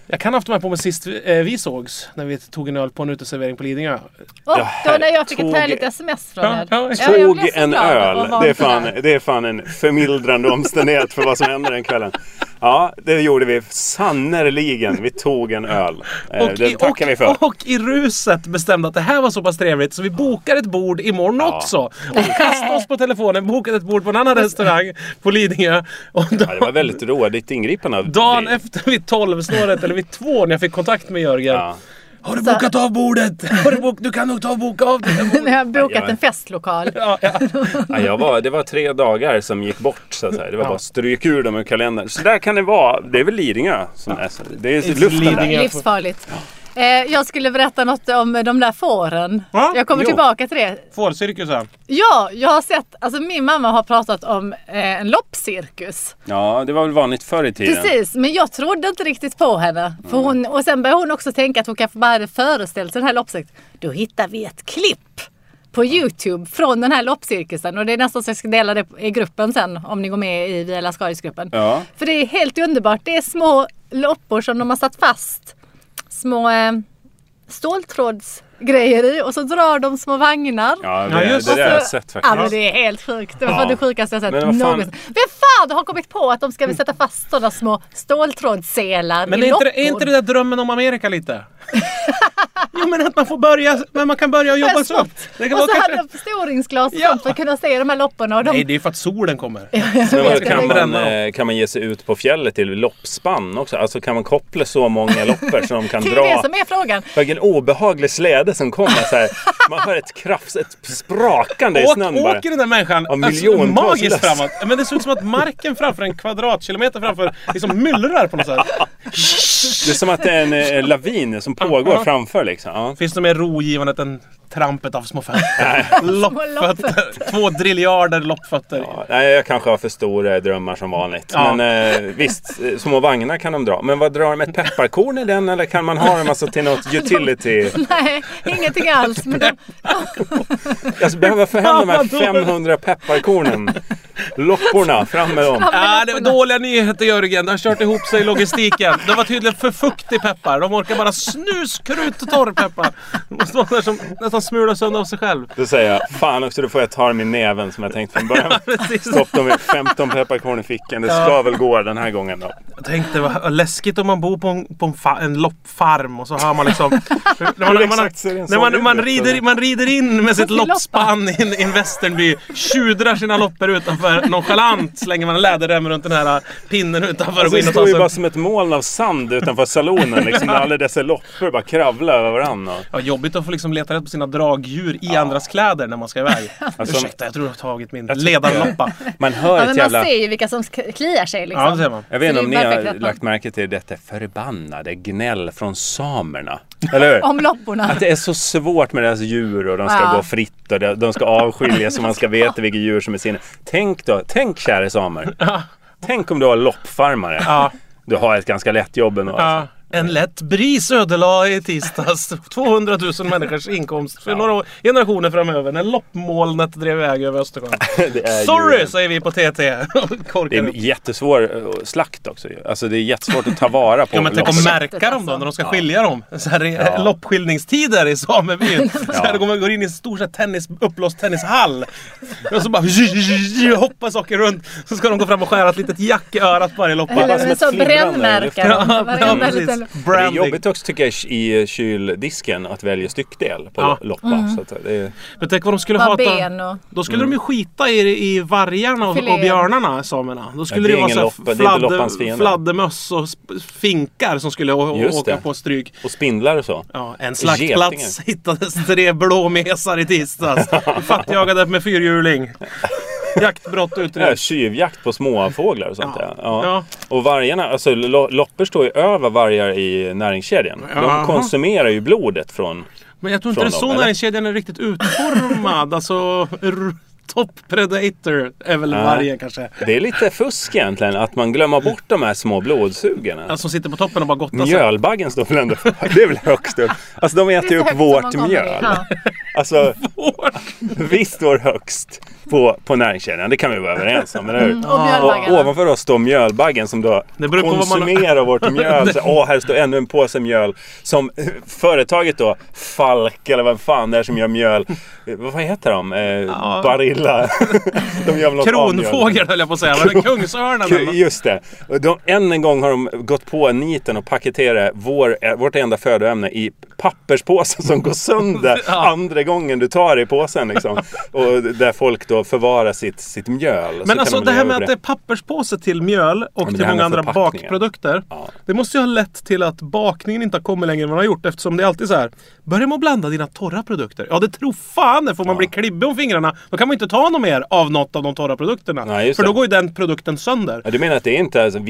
[SPEAKER 1] Jag kan ha haft de här på mig sist vi, eh, vi sågs. När vi tog en öl på en uteservering på Lidingö.
[SPEAKER 3] Åh,
[SPEAKER 2] Ja,
[SPEAKER 3] det var när jag fick
[SPEAKER 2] tog-
[SPEAKER 3] ett härligt sms från
[SPEAKER 1] Ja,
[SPEAKER 3] er.
[SPEAKER 1] ja,
[SPEAKER 3] jag blev
[SPEAKER 2] Tog
[SPEAKER 3] så
[SPEAKER 2] en
[SPEAKER 3] glad
[SPEAKER 2] öl.
[SPEAKER 3] och var
[SPEAKER 2] Det är,
[SPEAKER 3] inte
[SPEAKER 2] fan,
[SPEAKER 3] där.
[SPEAKER 2] det är fan en förmildrande omständighet för vad som hände den kvällen. Ja, det gjorde vi sannerligen. Vi tog en öl. Eh, det
[SPEAKER 1] i,
[SPEAKER 2] tackar vi för.
[SPEAKER 1] och, och i ruset bestämde att det här var så pass trevligt så vi bokar ett bord imorgon också. Och kastade oss på telefonen, bokade ett bord på en annan restaurang på Lidingö. Och då,
[SPEAKER 2] Ja, det var väldigt rådigt ingripande. av
[SPEAKER 1] dagen
[SPEAKER 2] dig.
[SPEAKER 1] efter vid 12-snåret, eller vid två när jag fick kontakt med Jörgen.
[SPEAKER 2] Ja.
[SPEAKER 1] Har du bokat av bordet? Har du, bok- du kan nog ta och boka av det.
[SPEAKER 3] <laughs> När jag har bokat
[SPEAKER 2] Ja.
[SPEAKER 3] en festlokal.
[SPEAKER 1] Ja, ja.
[SPEAKER 2] Ja, jag var, det var tre dagar som gick bort så att säga. Det var bara stryk ur dem ur kalendern. Så där kan det vara. Det är väl Lidingö som är så. Det är luften där.
[SPEAKER 1] Lidingö.
[SPEAKER 3] Livsfarligt. Eh, jag skulle berätta något om de där fåren.
[SPEAKER 1] Va?
[SPEAKER 3] Jag kommer
[SPEAKER 2] Jo.
[SPEAKER 3] tillbaka till det.
[SPEAKER 1] Fårcirkusen.
[SPEAKER 3] Ja, jag har sett, alltså min mamma har pratat om eh, en loppcirkus.
[SPEAKER 2] Ja, det var väl vanligt förr i tiden. Mm.
[SPEAKER 3] Precis, men jag trodde inte riktigt på henne. För hon, och sen började hon också tänka att hon kanske bara hade föreställt sig den här loppcirkusen. Då hittar vi ett klipp på Youtube från den här loppcirkusen. Och det är nästan så jag ska dela det i gruppen sen om ni går med i Via Lascaris-gruppen.
[SPEAKER 2] Ja.
[SPEAKER 3] För det är helt underbart. Det är små loppor som de har satt fast. Små eh, ståltrådsgrejer i och så drar de små vagnar.
[SPEAKER 2] Ja, det,
[SPEAKER 1] Ja, just
[SPEAKER 2] det,
[SPEAKER 1] det.
[SPEAKER 2] där har jag
[SPEAKER 3] Så-
[SPEAKER 2] sett
[SPEAKER 3] Alltså, Ja,
[SPEAKER 2] faktiskt.
[SPEAKER 3] men det är helt sjukt. Det var
[SPEAKER 2] Ja.
[SPEAKER 3] fan det sjukaste jag sett
[SPEAKER 2] Men vad fan-
[SPEAKER 3] någonsin. Vem fan har kommit på att de ska väl sätta fast sådana små ståltrådsselar
[SPEAKER 1] Men
[SPEAKER 3] i
[SPEAKER 1] är inte,
[SPEAKER 3] loppor? <laughs>
[SPEAKER 1] det, är inte det där drömmen om Amerika lite? jo, Ja, men att man får börja, men man kan börja jobba
[SPEAKER 3] Fast
[SPEAKER 1] så. upp.
[SPEAKER 3] stopp.
[SPEAKER 1] Det kan
[SPEAKER 3] Och
[SPEAKER 1] vara
[SPEAKER 3] så hade
[SPEAKER 1] kanske...
[SPEAKER 3] de förstoringsglas och
[SPEAKER 1] Ja.
[SPEAKER 3] sånt för att kunna se de här lopporna. Och de...
[SPEAKER 1] Nej, det är för att solen kommer.
[SPEAKER 2] Men vadå,
[SPEAKER 3] vet
[SPEAKER 2] kan,
[SPEAKER 1] inte.
[SPEAKER 2] man, eh, kan man ge sig ut på fjället till loppspann också? Alltså kan man koppla så många loppor
[SPEAKER 1] <laughs>
[SPEAKER 2] som de kan
[SPEAKER 3] det är det
[SPEAKER 2] dra?
[SPEAKER 3] som är frågan. <laughs>
[SPEAKER 2] Vilken obehaglig släde som kommer så här. Man hör ett krafs, ett sprakande i
[SPEAKER 1] Åk,
[SPEAKER 2] snön bara.
[SPEAKER 1] åker den där människan
[SPEAKER 2] Ja,
[SPEAKER 1] alltså,
[SPEAKER 2] miljontals
[SPEAKER 1] magiskt
[SPEAKER 2] löss.
[SPEAKER 1] framåt? Ja, Men det ser ut som att marken framför en kvadratkilometer framför liksom myllrar på något sätt.
[SPEAKER 2] Det är som att det är en eh, lavin som pågår
[SPEAKER 1] Ja.
[SPEAKER 2] framför liksom. Ja.
[SPEAKER 1] Finns det mer rogivandet än trampet av <laughs> små fötter? loppfötter. Två driljarder loppfötter.
[SPEAKER 2] Ja, nej, jag kanske har för stora drömmar som vanligt.
[SPEAKER 1] Ja.
[SPEAKER 2] Men eh, visst, eh, små vagnar kan de dra. Men vad drar de? Ett pepparkorn i den eller kan man ha dem alltså till något utility?
[SPEAKER 3] Nej, ingenting
[SPEAKER 1] <laughs>
[SPEAKER 3] alls. Men de...
[SPEAKER 2] Alltså behöver få hem de här
[SPEAKER 1] Fan, vad dåligt.
[SPEAKER 2] 500 pepparkornen. Lopporna, fram med dem.
[SPEAKER 3] Ja, men
[SPEAKER 1] Ja, det var
[SPEAKER 3] lopporna.
[SPEAKER 1] dåliga nyheter Jörgen. Det har kört ihop sig i logistiken. Det var tydligen för fuktig peppar. De orkar bara snus, krut och torrpeppar. Det måste vara sådär som nästan smular sönder av sig själv.
[SPEAKER 2] Då säger jag, fan också då får jag ta dem i näven som jag tänkt
[SPEAKER 1] <laughs>
[SPEAKER 2] från början.
[SPEAKER 1] Precis.
[SPEAKER 2] Stopp dem i 15 pepparkorn i fickan. Det ska väl gå den här gången då.
[SPEAKER 1] Jag tänkte vad läskigt om man bor på en, på en, fa, en loppfarm och så har man
[SPEAKER 2] <laughs>
[SPEAKER 1] liksom... när man,
[SPEAKER 2] Hur
[SPEAKER 1] när man,
[SPEAKER 2] exakt ser en
[SPEAKER 1] när
[SPEAKER 2] sån Alltså,
[SPEAKER 1] man,
[SPEAKER 2] ut?
[SPEAKER 1] man, rider, man rider in med sitt
[SPEAKER 3] Loppa.
[SPEAKER 1] loppspann i en, i en västernby, tjudrar sina loppor utanför nonchalant, slänger man en läderrem runt den här äh, pinnen utanför och
[SPEAKER 2] Alltså,
[SPEAKER 1] går
[SPEAKER 2] det
[SPEAKER 1] in och tar
[SPEAKER 2] står ju
[SPEAKER 1] sig
[SPEAKER 2] bara
[SPEAKER 1] en
[SPEAKER 2] som ett moln av sand utanför
[SPEAKER 1] <laughs>
[SPEAKER 2] salonen. Liksom, där alla dessa loppor bara kravlar över varandra.
[SPEAKER 1] Ja, jobbigt att få liksom leta rätt på sina dragdjur i andras kläder när man ska iväg.
[SPEAKER 2] <laughs> Alltså-
[SPEAKER 1] Ursäkta, jag tror du har tagit min ledarloppa.
[SPEAKER 2] Man hör
[SPEAKER 3] Ja,
[SPEAKER 2] ett
[SPEAKER 3] men
[SPEAKER 2] jävla...
[SPEAKER 3] man ser ju vilka som sk- kliar sig liksom.
[SPEAKER 1] Ja, det ser man.
[SPEAKER 2] Jag vet inte
[SPEAKER 3] Så
[SPEAKER 2] om ni
[SPEAKER 3] det är perfekt
[SPEAKER 2] har
[SPEAKER 3] att man-
[SPEAKER 2] lagt märke till detta förbannade gnäll från samerna. Eller hur?
[SPEAKER 3] Om
[SPEAKER 1] <laughs>
[SPEAKER 3] lopporna.
[SPEAKER 2] Att det är så svårt med deras djur och de ska
[SPEAKER 3] Ja.
[SPEAKER 2] gå fritt och de de ska avskiljas och man ska veta vilka djur som är sina. Tänk då, tänk kära samer. Tänk om du har loppfarmare.
[SPEAKER 1] Ja.
[SPEAKER 2] Du har ett ganska lätt jobb ändå.
[SPEAKER 1] Ja.
[SPEAKER 2] alltså.
[SPEAKER 1] En lätt bris ödelade i tisdags <laughs> 200 000 människors inkomst för några år- generationer framöver när loppmolnet drev iväg över Östersjön.
[SPEAKER 2] <laughs> Det är Äh, ju-
[SPEAKER 1] Sorry säger vi på TT och <laughs>
[SPEAKER 2] Det
[SPEAKER 1] korkar
[SPEAKER 2] är
[SPEAKER 1] upp.
[SPEAKER 2] jättesvår eh, slakt också ju. Alltså det är jättesvårt att ta vara på.
[SPEAKER 1] Ja, men tänk
[SPEAKER 2] loppen.
[SPEAKER 1] att
[SPEAKER 3] Loppet,
[SPEAKER 1] märka dem då
[SPEAKER 3] alltså.
[SPEAKER 1] när de ska skilja dem. Så här, ja. Loppskiljningstider i
[SPEAKER 3] <laughs>
[SPEAKER 1] samebyn. Så här,
[SPEAKER 2] Ja.
[SPEAKER 1] går man går in i en stor så här, tennis, uppblåst tennishall. Och så bara <laughs> hoppar saker runt. Så ska de gå fram och skära ett litet jack i örat på varje loppa.
[SPEAKER 3] Eller
[SPEAKER 2] som
[SPEAKER 3] med
[SPEAKER 2] ett
[SPEAKER 3] så
[SPEAKER 2] flimrande
[SPEAKER 3] brännmärken.
[SPEAKER 2] lyfte.
[SPEAKER 1] Ja, ja,
[SPEAKER 3] Varenda
[SPEAKER 1] precis.
[SPEAKER 3] liten-
[SPEAKER 2] Det är
[SPEAKER 1] Branding.
[SPEAKER 2] jobbigt också tycker jag i kyldisken att välja styckdel på
[SPEAKER 1] Ja.
[SPEAKER 2] loppa. Så att det är...
[SPEAKER 1] Men tänk vad de skulle
[SPEAKER 3] Bara
[SPEAKER 1] hata.
[SPEAKER 3] ben och-
[SPEAKER 1] Då skulle
[SPEAKER 2] Mm.
[SPEAKER 1] de ju skita i, i vargarna och,
[SPEAKER 3] Filén.
[SPEAKER 1] och björnarna, samerna. Då skulle
[SPEAKER 2] det
[SPEAKER 1] det,
[SPEAKER 2] är ingen
[SPEAKER 1] vara
[SPEAKER 2] loppa- det är
[SPEAKER 1] så
[SPEAKER 2] inte
[SPEAKER 1] här
[SPEAKER 2] loppans
[SPEAKER 1] fladder,
[SPEAKER 2] fiende.
[SPEAKER 1] fladdermöss och sp- finkar som skulle å-
[SPEAKER 2] Just
[SPEAKER 1] åka
[SPEAKER 2] det.
[SPEAKER 1] på stryk.
[SPEAKER 2] Och spindlar och så.
[SPEAKER 1] Ja, en slaktplats hittades tre blåmesar i
[SPEAKER 2] <laughs>
[SPEAKER 1] tisdags. Fattjagade med fyrhjuling. Jaktbrott
[SPEAKER 2] Ja,
[SPEAKER 1] utreds.
[SPEAKER 2] tjuvjakt på småfåglar och sånt
[SPEAKER 1] Ja.
[SPEAKER 2] ja. Ja.
[SPEAKER 1] Ja.
[SPEAKER 2] Och vargarna, alltså lo- loppor står ju över vargar i näringskedjan.
[SPEAKER 1] Jaha.
[SPEAKER 2] De konsumerar ju blodet från...
[SPEAKER 1] Men jag tror inte det är
[SPEAKER 2] Från
[SPEAKER 1] så
[SPEAKER 2] dem, eller?
[SPEAKER 1] näringskedjan är riktigt utformad. alltså, r- top predator är väl
[SPEAKER 2] Nej.
[SPEAKER 1] vargen kanske.
[SPEAKER 2] Det är lite fusk egentligen att man glömmer bort de här små blodsugarna.
[SPEAKER 1] Alltså, som sitter på toppen och bara gottar sig.
[SPEAKER 2] Mjölbaggen står väl ändå <laughs> Det är väl högst upp? Alltså de
[SPEAKER 3] Alltså- Det är
[SPEAKER 2] äter
[SPEAKER 3] så
[SPEAKER 2] ju upp
[SPEAKER 3] högt som
[SPEAKER 2] vårt
[SPEAKER 3] man kommer.
[SPEAKER 2] mjöl.
[SPEAKER 3] Ja.
[SPEAKER 2] Alltså vi står högst på, på näringskedjan, det kan vi vara överens om, eller hur?
[SPEAKER 3] Mm, Och
[SPEAKER 2] Och
[SPEAKER 3] mjölbaggarna.
[SPEAKER 2] ovanför oss står mjölbaggen som då
[SPEAKER 1] Det beror på vad man- <laughs>
[SPEAKER 2] konsumerar vårt mjöl. Så, Åh, här står ännu en påse mjöl. Som eh, företaget då, Falk eller vad fan det är som gör mjöl. Eh, Vad heter de? Eh, Barilla. <laughs> de gör väl något av mjöl.
[SPEAKER 1] Kronfågel höll jag på att säga.
[SPEAKER 2] <laughs>
[SPEAKER 1] Men kungsörnen.
[SPEAKER 2] Ku-
[SPEAKER 1] eller?
[SPEAKER 2] Just det. Och De, än en gång har de gått på niten och paketerat vår, eh, vårt enda födoämne i papperspåsen som går sönder
[SPEAKER 1] <laughs> Ja.
[SPEAKER 2] andra gången du tar i påsen. Liksom. Och där folk då förvarar sitt, sitt mjöl. Så
[SPEAKER 1] Men
[SPEAKER 2] kan
[SPEAKER 1] alltså
[SPEAKER 2] de
[SPEAKER 1] det här med
[SPEAKER 2] leva på
[SPEAKER 1] att det är papperspåse till mjöl och
[SPEAKER 2] men
[SPEAKER 1] till
[SPEAKER 2] det här
[SPEAKER 1] många
[SPEAKER 2] med
[SPEAKER 1] andra
[SPEAKER 2] förpackningar.
[SPEAKER 1] bakprodukter.
[SPEAKER 2] Ja.
[SPEAKER 1] Det måste ju ha lett till att bakningen inte har kommit längre än man har gjort eftersom det är alltid så här. Börja med att blanda dina torra produkter. Ja det tror fan det, får man bli klibbig om fingrarna då kan man inte ta något mer av något av de torra produkterna.
[SPEAKER 2] Nej, just
[SPEAKER 1] För då
[SPEAKER 2] det.
[SPEAKER 1] går ju den produkten sönder.
[SPEAKER 2] Ja, du menar att det är inte är alltså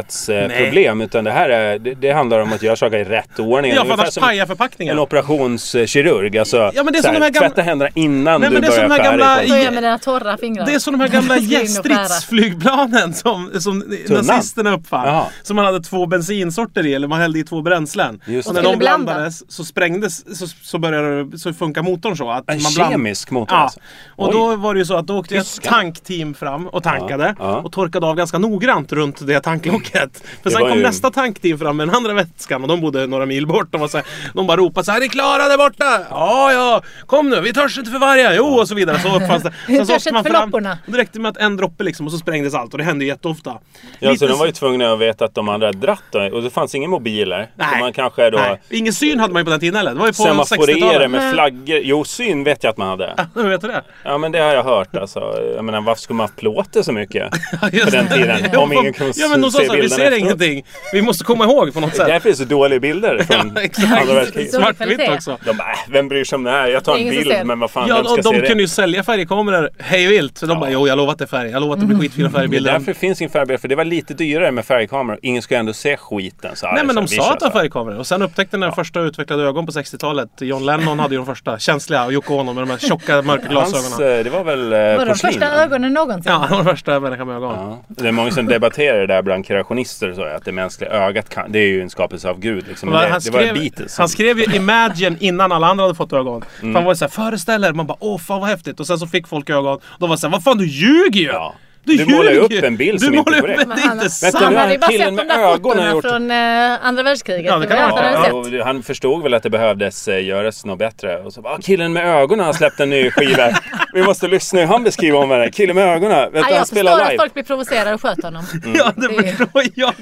[SPEAKER 2] viskositetsproblem utan det här är, det, det handlar om att göra saker i rätt ordning.
[SPEAKER 1] Ja för
[SPEAKER 2] Ungefär
[SPEAKER 1] annars
[SPEAKER 2] som
[SPEAKER 1] pajar
[SPEAKER 2] en
[SPEAKER 1] förpackningen.
[SPEAKER 2] operationskirurg. Alltså,
[SPEAKER 1] Ja, men det är
[SPEAKER 2] så
[SPEAKER 1] som
[SPEAKER 2] här,
[SPEAKER 1] de här gamla-
[SPEAKER 2] Tvätta händerna innan
[SPEAKER 1] Nej,
[SPEAKER 2] du
[SPEAKER 1] men det är som
[SPEAKER 2] börjar
[SPEAKER 1] de här
[SPEAKER 2] skära
[SPEAKER 1] gamla-
[SPEAKER 2] i
[SPEAKER 3] Börja med dina torra fingrar.
[SPEAKER 1] Det är som de här gamla
[SPEAKER 3] <laughs> Ska in och skära.
[SPEAKER 1] stridsflygplanen som, som
[SPEAKER 2] Tunnan.
[SPEAKER 1] nazisterna uppfann.
[SPEAKER 2] Jaha.
[SPEAKER 1] Som man hade två bensinsorter i, eller man hällde i två bränslen.
[SPEAKER 2] Just
[SPEAKER 1] och
[SPEAKER 2] det.
[SPEAKER 1] när de
[SPEAKER 3] Skulle blanda.
[SPEAKER 1] blandades så sprängdes, så, så började så funkar motorn så. Att
[SPEAKER 2] En
[SPEAKER 1] man bland-
[SPEAKER 2] kemisk motor
[SPEAKER 1] Ja.
[SPEAKER 2] alltså?
[SPEAKER 1] Och
[SPEAKER 2] Oj.
[SPEAKER 1] då var det ju så att då åkte ett
[SPEAKER 2] Tyskarna.
[SPEAKER 1] tankteam fram och tankade.
[SPEAKER 2] Ja, ja.
[SPEAKER 1] Och torkade av ganska noggrant runt det tanklocket. För
[SPEAKER 2] Det
[SPEAKER 1] sen
[SPEAKER 2] var
[SPEAKER 1] kom
[SPEAKER 2] ju-
[SPEAKER 1] nästa tankteam fram med den andra vätskan och de bodde några mil bort. De, var så här, de
[SPEAKER 2] <laughs>
[SPEAKER 1] bara ropade så här, är ni klara där borta? Ja, ja, kom nu, vi törs inte för varje. Jo, och så vidare. Så uppfanns det. Sen så
[SPEAKER 3] Kanske
[SPEAKER 1] åkte man
[SPEAKER 3] för
[SPEAKER 1] fram
[SPEAKER 3] lopporna.
[SPEAKER 1] och det räckte med att en droppe liksom och så sprängdes allt och det hände ju jätteofta.
[SPEAKER 2] Ja, så
[SPEAKER 1] Lite
[SPEAKER 2] de var ju tvungna att veta att de andra hade dratt då, och det fanns inga mobiler. Så
[SPEAKER 1] Nej.
[SPEAKER 2] man kanske då
[SPEAKER 1] Nej. Ingen syn hade man ju på den tiden heller. Det var ju på
[SPEAKER 2] semaforerade
[SPEAKER 1] 60-talet.
[SPEAKER 2] med flaggor. Jo, syn vet jag att man hade.
[SPEAKER 1] Men <laughs> vet du det?
[SPEAKER 2] Ja, men det har jag hört alltså. Jag menar, varför skulle man ha plåter så mycket?
[SPEAKER 1] Just
[SPEAKER 2] den
[SPEAKER 1] det.
[SPEAKER 2] tiden.
[SPEAKER 1] <laughs> Ja,
[SPEAKER 2] Om ingen
[SPEAKER 1] fan.
[SPEAKER 2] kunde
[SPEAKER 1] Ja men de sa
[SPEAKER 2] se
[SPEAKER 1] såhär, vi
[SPEAKER 2] bilden
[SPEAKER 1] ser
[SPEAKER 2] efteråt.
[SPEAKER 1] ingenting. Vi måste komma ihåg på något sätt.
[SPEAKER 2] Därför är det så dåliga bilder från
[SPEAKER 1] Ja, <laughs> exakt.
[SPEAKER 2] andra världskriget.
[SPEAKER 3] Så-
[SPEAKER 1] Svartvitt
[SPEAKER 3] kvalitet.
[SPEAKER 1] också.
[SPEAKER 2] De bara, äh, vem bryr sig om det här? Jag tar en
[SPEAKER 3] Ingen som
[SPEAKER 2] bild,
[SPEAKER 3] ser.
[SPEAKER 2] men vad fan,
[SPEAKER 1] Ja,
[SPEAKER 2] vem
[SPEAKER 1] och
[SPEAKER 2] ska
[SPEAKER 1] de
[SPEAKER 2] se
[SPEAKER 1] kunde
[SPEAKER 2] det?
[SPEAKER 1] ju sälja färgkameror hej vilt. Så de bara, jo jag lovar att det är färg. Jag lovar att det blir skitfina
[SPEAKER 2] Det är
[SPEAKER 1] färgbilder.
[SPEAKER 2] därför finns ingen färgbild, för det var lite dyrare med färgkameror. Ingen skulle ändå se skiten. Så här,
[SPEAKER 1] Nej men
[SPEAKER 2] så
[SPEAKER 1] de
[SPEAKER 2] vi
[SPEAKER 1] sa
[SPEAKER 2] kör
[SPEAKER 1] att det var
[SPEAKER 2] så här.
[SPEAKER 1] färgkameror och sen upptäckte den första utvecklade ögon på 60-talet. John Lennon hade ju de första känsliga och Yoko Ono med de här tjocka mörka
[SPEAKER 2] Hans,
[SPEAKER 1] glasögonen.
[SPEAKER 2] eh, det var väl eh,
[SPEAKER 3] Var de
[SPEAKER 2] porslin?
[SPEAKER 3] första ögonen
[SPEAKER 1] Ja,
[SPEAKER 3] någonsin?
[SPEAKER 1] han var den första människan med ögon.
[SPEAKER 2] Ja. Det är många som debatterar det där bland kreationister så att det mänskliga ögat kan, det är ju en skapelse av Gud. Liksom. Men
[SPEAKER 1] Men
[SPEAKER 2] det,
[SPEAKER 1] han,
[SPEAKER 2] det var
[SPEAKER 1] skrev,
[SPEAKER 2] Beatles. Mm. som-
[SPEAKER 1] han skrev ju Imagine innan alla andra hade fått ögon. För han var ju såhär, föreställ er. Man bara, åh fan vad häftigt. Och sen så fick folk ögon. De var såhär, vad fan du ljuger ju!
[SPEAKER 2] Ja. Du målar ju upp en bild
[SPEAKER 1] du
[SPEAKER 2] som inte
[SPEAKER 1] målar
[SPEAKER 2] är
[SPEAKER 1] upp
[SPEAKER 2] korrekt.
[SPEAKER 1] en- Det är
[SPEAKER 3] han,
[SPEAKER 1] inte
[SPEAKER 2] Vänta,
[SPEAKER 3] han
[SPEAKER 1] sant!
[SPEAKER 2] nu har
[SPEAKER 3] hade ju bara
[SPEAKER 2] killen
[SPEAKER 3] sett de
[SPEAKER 2] med
[SPEAKER 3] där
[SPEAKER 2] ögonen
[SPEAKER 3] fotona
[SPEAKER 2] gjort-
[SPEAKER 3] från eh, andra världskriget.
[SPEAKER 1] Ja, det kan
[SPEAKER 3] var
[SPEAKER 1] vara.
[SPEAKER 3] allt han hade
[SPEAKER 2] Ja,
[SPEAKER 3] sett.
[SPEAKER 2] och det- han förstod väl att det behövdes eh, göras något bättre. Och så bara, "Ah, killen med ögonen har släppt en
[SPEAKER 1] <laughs>
[SPEAKER 2] ny skiva. Vi måste lyssna hur han beskriver om henne. Killen med ögonen. Vet
[SPEAKER 3] Ja,
[SPEAKER 2] du, han
[SPEAKER 3] jag förstår
[SPEAKER 2] spelar
[SPEAKER 3] att
[SPEAKER 2] live.
[SPEAKER 3] folk blir provocerade och sköt honom.
[SPEAKER 1] <laughs> Ja, det
[SPEAKER 3] Det är-
[SPEAKER 1] förstår jag.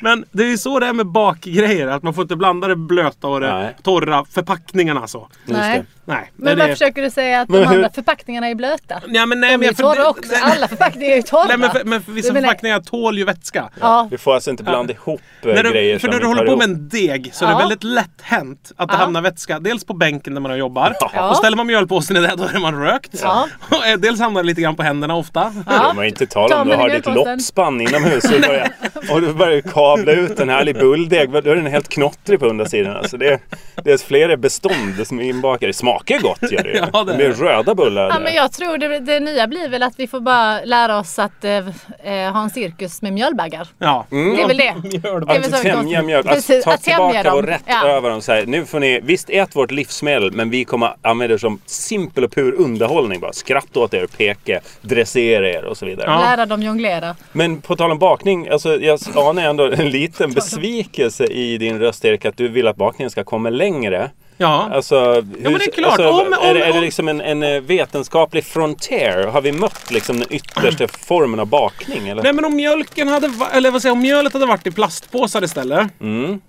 [SPEAKER 1] Men det är ju så det är med bakgrejer. Att man får inte blanda det blöta och det
[SPEAKER 2] Nej.
[SPEAKER 1] torra. Förpackningarna så.
[SPEAKER 3] Nej.
[SPEAKER 1] Nej.
[SPEAKER 3] Men
[SPEAKER 1] det är-
[SPEAKER 3] vad försöker du säga att
[SPEAKER 2] Men
[SPEAKER 3] de
[SPEAKER 2] hur-
[SPEAKER 3] andra förpackningarna är blöta?
[SPEAKER 1] Nej men nej
[SPEAKER 3] De är
[SPEAKER 1] men
[SPEAKER 3] ju
[SPEAKER 1] jag- för-
[SPEAKER 3] torra också.
[SPEAKER 1] nej,
[SPEAKER 3] Alla förpackningar är ju torra.
[SPEAKER 1] Nej men för, men för vissa
[SPEAKER 3] Jag menar-
[SPEAKER 1] förpackningar tål ju vätska.
[SPEAKER 3] Ja,
[SPEAKER 2] Vi får alltså inte blanda ihop eh,
[SPEAKER 1] När du,
[SPEAKER 2] grejer
[SPEAKER 1] för
[SPEAKER 2] som
[SPEAKER 1] när
[SPEAKER 2] vi
[SPEAKER 1] du
[SPEAKER 2] tar
[SPEAKER 1] håller på
[SPEAKER 2] ihop.
[SPEAKER 1] med en deg så är det
[SPEAKER 3] Ja.
[SPEAKER 1] väldigt lätt hänt att det
[SPEAKER 3] Ja.
[SPEAKER 1] hamnar vätska. Dels på bänken där man jobbar.
[SPEAKER 2] Ja.
[SPEAKER 1] Och ställer man mjölpåsen i det då är man rökt.
[SPEAKER 3] Ja.
[SPEAKER 1] Och, eh, Dels hamnar det lite grann på händerna ofta.
[SPEAKER 2] Det
[SPEAKER 3] ja.
[SPEAKER 2] kan man ju inte tala
[SPEAKER 3] Ta
[SPEAKER 2] om. Du
[SPEAKER 3] med
[SPEAKER 2] har
[SPEAKER 3] den
[SPEAKER 2] ditt
[SPEAKER 3] mjölkposten.
[SPEAKER 2] loppspann inomhus och, du
[SPEAKER 3] <laughs>
[SPEAKER 2] börjar, och du börjar kavla ut en härlig bulldeg. Då är den helt knottrig på undersidan. Alltså det, är- det är flera bestånd som är inbakade. Det smakar ju gott
[SPEAKER 3] <laughs>
[SPEAKER 2] gör det ju.
[SPEAKER 1] Ja, det
[SPEAKER 2] det blir
[SPEAKER 1] är det.
[SPEAKER 2] röda bullar.
[SPEAKER 3] Ja,
[SPEAKER 2] där.
[SPEAKER 3] men jag tror det, det nya blir väl att vi får bara lära oss att eh, eh, ha en cirkus med mjölbaggar.
[SPEAKER 1] Ja.
[SPEAKER 2] Mm.
[SPEAKER 3] Det är väl det.
[SPEAKER 1] Mjölpåse.
[SPEAKER 3] Det är väl
[SPEAKER 2] Att
[SPEAKER 3] så-
[SPEAKER 2] tämja mjölk. Alltså,
[SPEAKER 3] Precis,
[SPEAKER 2] ta
[SPEAKER 3] att tämja
[SPEAKER 2] tillbaka
[SPEAKER 3] dem.
[SPEAKER 2] och rätt
[SPEAKER 3] Ja.
[SPEAKER 2] över dem. Så här. Nu får ni, visst, ät vårt livsmedel, men vi kommer använda det som simpel och pur underhållning. Bara. Skratta åt er, peka, dressera er och så vidare.
[SPEAKER 1] Ja.
[SPEAKER 3] Lära dem jonglera.
[SPEAKER 2] Men på tal om bakning, alltså, jag anar ändå en liten besvikelse i din röst Erik, att du vill att bakningen ska komma längre.
[SPEAKER 1] Ja.
[SPEAKER 2] Alltså, hur,
[SPEAKER 1] men det är klart.
[SPEAKER 2] Alltså,
[SPEAKER 1] Om-
[SPEAKER 2] är, det,
[SPEAKER 1] om-
[SPEAKER 2] är det
[SPEAKER 1] om-
[SPEAKER 2] liksom en, en eh, vetenskaplig frontier? Har vi mött liksom den
[SPEAKER 1] <clears throat>
[SPEAKER 2] yttersta formen av bakning? Eller?
[SPEAKER 1] Nej men om mjölken hade, va- eller vad säger jag, om mjölet hade varit i plastpåsar istället.
[SPEAKER 2] Mm.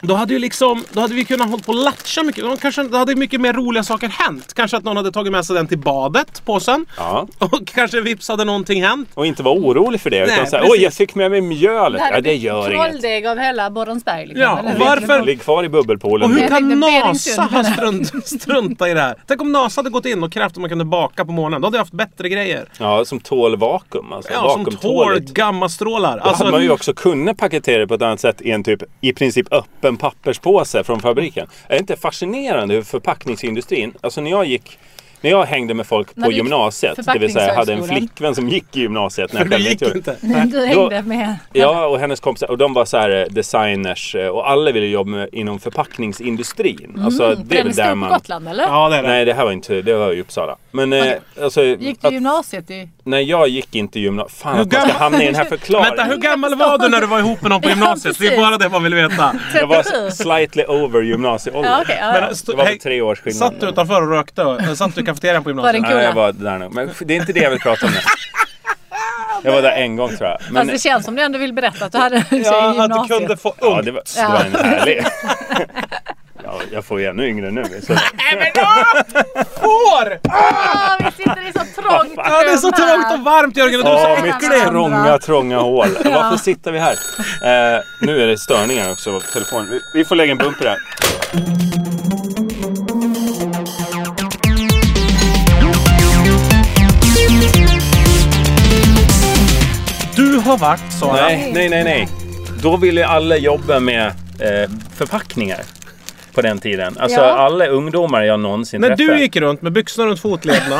[SPEAKER 1] Då hade ju liksom, då hade vi kunnat hålla på och latcha mycket. Då, kanske, då hade mycket mer roliga saker hänt. Kanske att någon hade tagit med sig den till badet, påsen.
[SPEAKER 2] Ja.
[SPEAKER 1] Och kanske vips hade någonting hänt.
[SPEAKER 2] Och inte vara orolig för det. utan
[SPEAKER 1] Nej,
[SPEAKER 2] så här,
[SPEAKER 1] precis.
[SPEAKER 2] oj, jag fick med mig mjölet.
[SPEAKER 3] här
[SPEAKER 2] Ja,
[SPEAKER 3] är
[SPEAKER 2] det gör inget.
[SPEAKER 3] Trolldeg av hela Borensberg. Liksom,
[SPEAKER 1] Ja,
[SPEAKER 3] eller
[SPEAKER 1] och
[SPEAKER 3] hur?
[SPEAKER 1] varför-
[SPEAKER 2] Ligg kvar i bubbelpoolen.
[SPEAKER 1] Och hur
[SPEAKER 2] nu.
[SPEAKER 1] kan
[SPEAKER 3] tänkte
[SPEAKER 1] NASA
[SPEAKER 3] Beringsund.
[SPEAKER 1] ha strunt, strunta i det här? Tänk om NASA hade gått in och krävt att man kunde baka på månen. Då hade jag haft bättre grejer.
[SPEAKER 2] Ja, som tål vakuum. Alltså,
[SPEAKER 1] Ja, som tår,
[SPEAKER 2] vakuumtåligt.
[SPEAKER 1] gammastrålar.
[SPEAKER 2] Då hade
[SPEAKER 1] <laughs>
[SPEAKER 2] man ju
[SPEAKER 1] Alltså,
[SPEAKER 2] också kunnat paketera det på ett annat sätt i en typ, i princip öppen papperspåse från fabriken. Är det inte fascinerande hur förpackningsindustrin, alltså när jag gick när jag hängde med folk
[SPEAKER 3] När
[SPEAKER 2] på
[SPEAKER 3] du gick
[SPEAKER 2] gymnasiet, det vill säga jag hade en
[SPEAKER 3] förpackningshögskolan.
[SPEAKER 2] flickvän som gick i gymnasiet. När jag
[SPEAKER 1] det
[SPEAKER 2] själv
[SPEAKER 1] gick
[SPEAKER 2] gjorde det.
[SPEAKER 1] inte.
[SPEAKER 3] <laughs> Du
[SPEAKER 2] Då-
[SPEAKER 3] hängde med.
[SPEAKER 2] Ja, och hennes kompisar. Och de var så här eh, designers eh, och alla ville jobba med, inom förpackningsindustrin.
[SPEAKER 3] Mm.
[SPEAKER 2] alltså, det är
[SPEAKER 3] Den är
[SPEAKER 2] väl
[SPEAKER 3] stor
[SPEAKER 2] där
[SPEAKER 3] på
[SPEAKER 2] man...
[SPEAKER 3] Gotland eller?
[SPEAKER 1] Ja, det är det.
[SPEAKER 2] Nej, det här var inte, det var i Uppsala. Men eh, alltså,
[SPEAKER 3] Gick du
[SPEAKER 2] att,
[SPEAKER 3] gymnasiet i?
[SPEAKER 2] nej, jag gick inte gymnasiet. Fan att man
[SPEAKER 1] gammal-
[SPEAKER 2] ska hamna i den här förklaringen.
[SPEAKER 1] Vänta, hur gammal var du när du var ihop med någon på
[SPEAKER 3] Ja,
[SPEAKER 1] gymnasiet? Det är
[SPEAKER 3] precis.
[SPEAKER 1] bara det man vill veta.
[SPEAKER 2] Jag var
[SPEAKER 3] 37?
[SPEAKER 2] slightly over gymnasieålder.
[SPEAKER 3] Ja, okej, ja,
[SPEAKER 2] Men
[SPEAKER 3] ja.
[SPEAKER 2] det var väl tre års skillnad.
[SPEAKER 1] Satt du utanför och rökte? Eller Satt du i kafeterian på
[SPEAKER 3] Var det
[SPEAKER 1] gymnasiet?
[SPEAKER 3] en
[SPEAKER 2] Nej, jag
[SPEAKER 3] kula?
[SPEAKER 2] var där nog. Men det är inte det jag vill prata om nu. Jag var där en gång tror jag. Men,
[SPEAKER 3] Fast det känns som du ändå vill berätta att du hade en tjej i
[SPEAKER 1] Ja, att du
[SPEAKER 3] gymnasiet.
[SPEAKER 1] kunde få
[SPEAKER 2] ja,
[SPEAKER 1] ungt.
[SPEAKER 2] det var, det var en härlig... Ja, jag får ju ännu yngre nu. Så.
[SPEAKER 1] Nej men <laughs> åh! Får!
[SPEAKER 3] Ja, vi sitter i så trångt
[SPEAKER 1] Ja, det är så
[SPEAKER 3] rum
[SPEAKER 1] trångt
[SPEAKER 3] här.
[SPEAKER 1] och varmt Jörgen och du
[SPEAKER 2] Ja,
[SPEAKER 1] är så
[SPEAKER 2] mitt
[SPEAKER 1] äcklig!
[SPEAKER 2] trånga, trånga hål. Varför sitter vi här? Eh, nu är det störningar också på telefonen. Vi, vi får lägga en bumper här.
[SPEAKER 1] Du har varit Sara.
[SPEAKER 2] Nej, nej, nej, nej. Då ville alla jobba med eh, förpackningar på den tiden. Alltså
[SPEAKER 3] Ja.
[SPEAKER 2] alla ungdomar jag någonsin
[SPEAKER 1] När
[SPEAKER 2] träffade.
[SPEAKER 1] du gick runt med byxorna runt fotlederna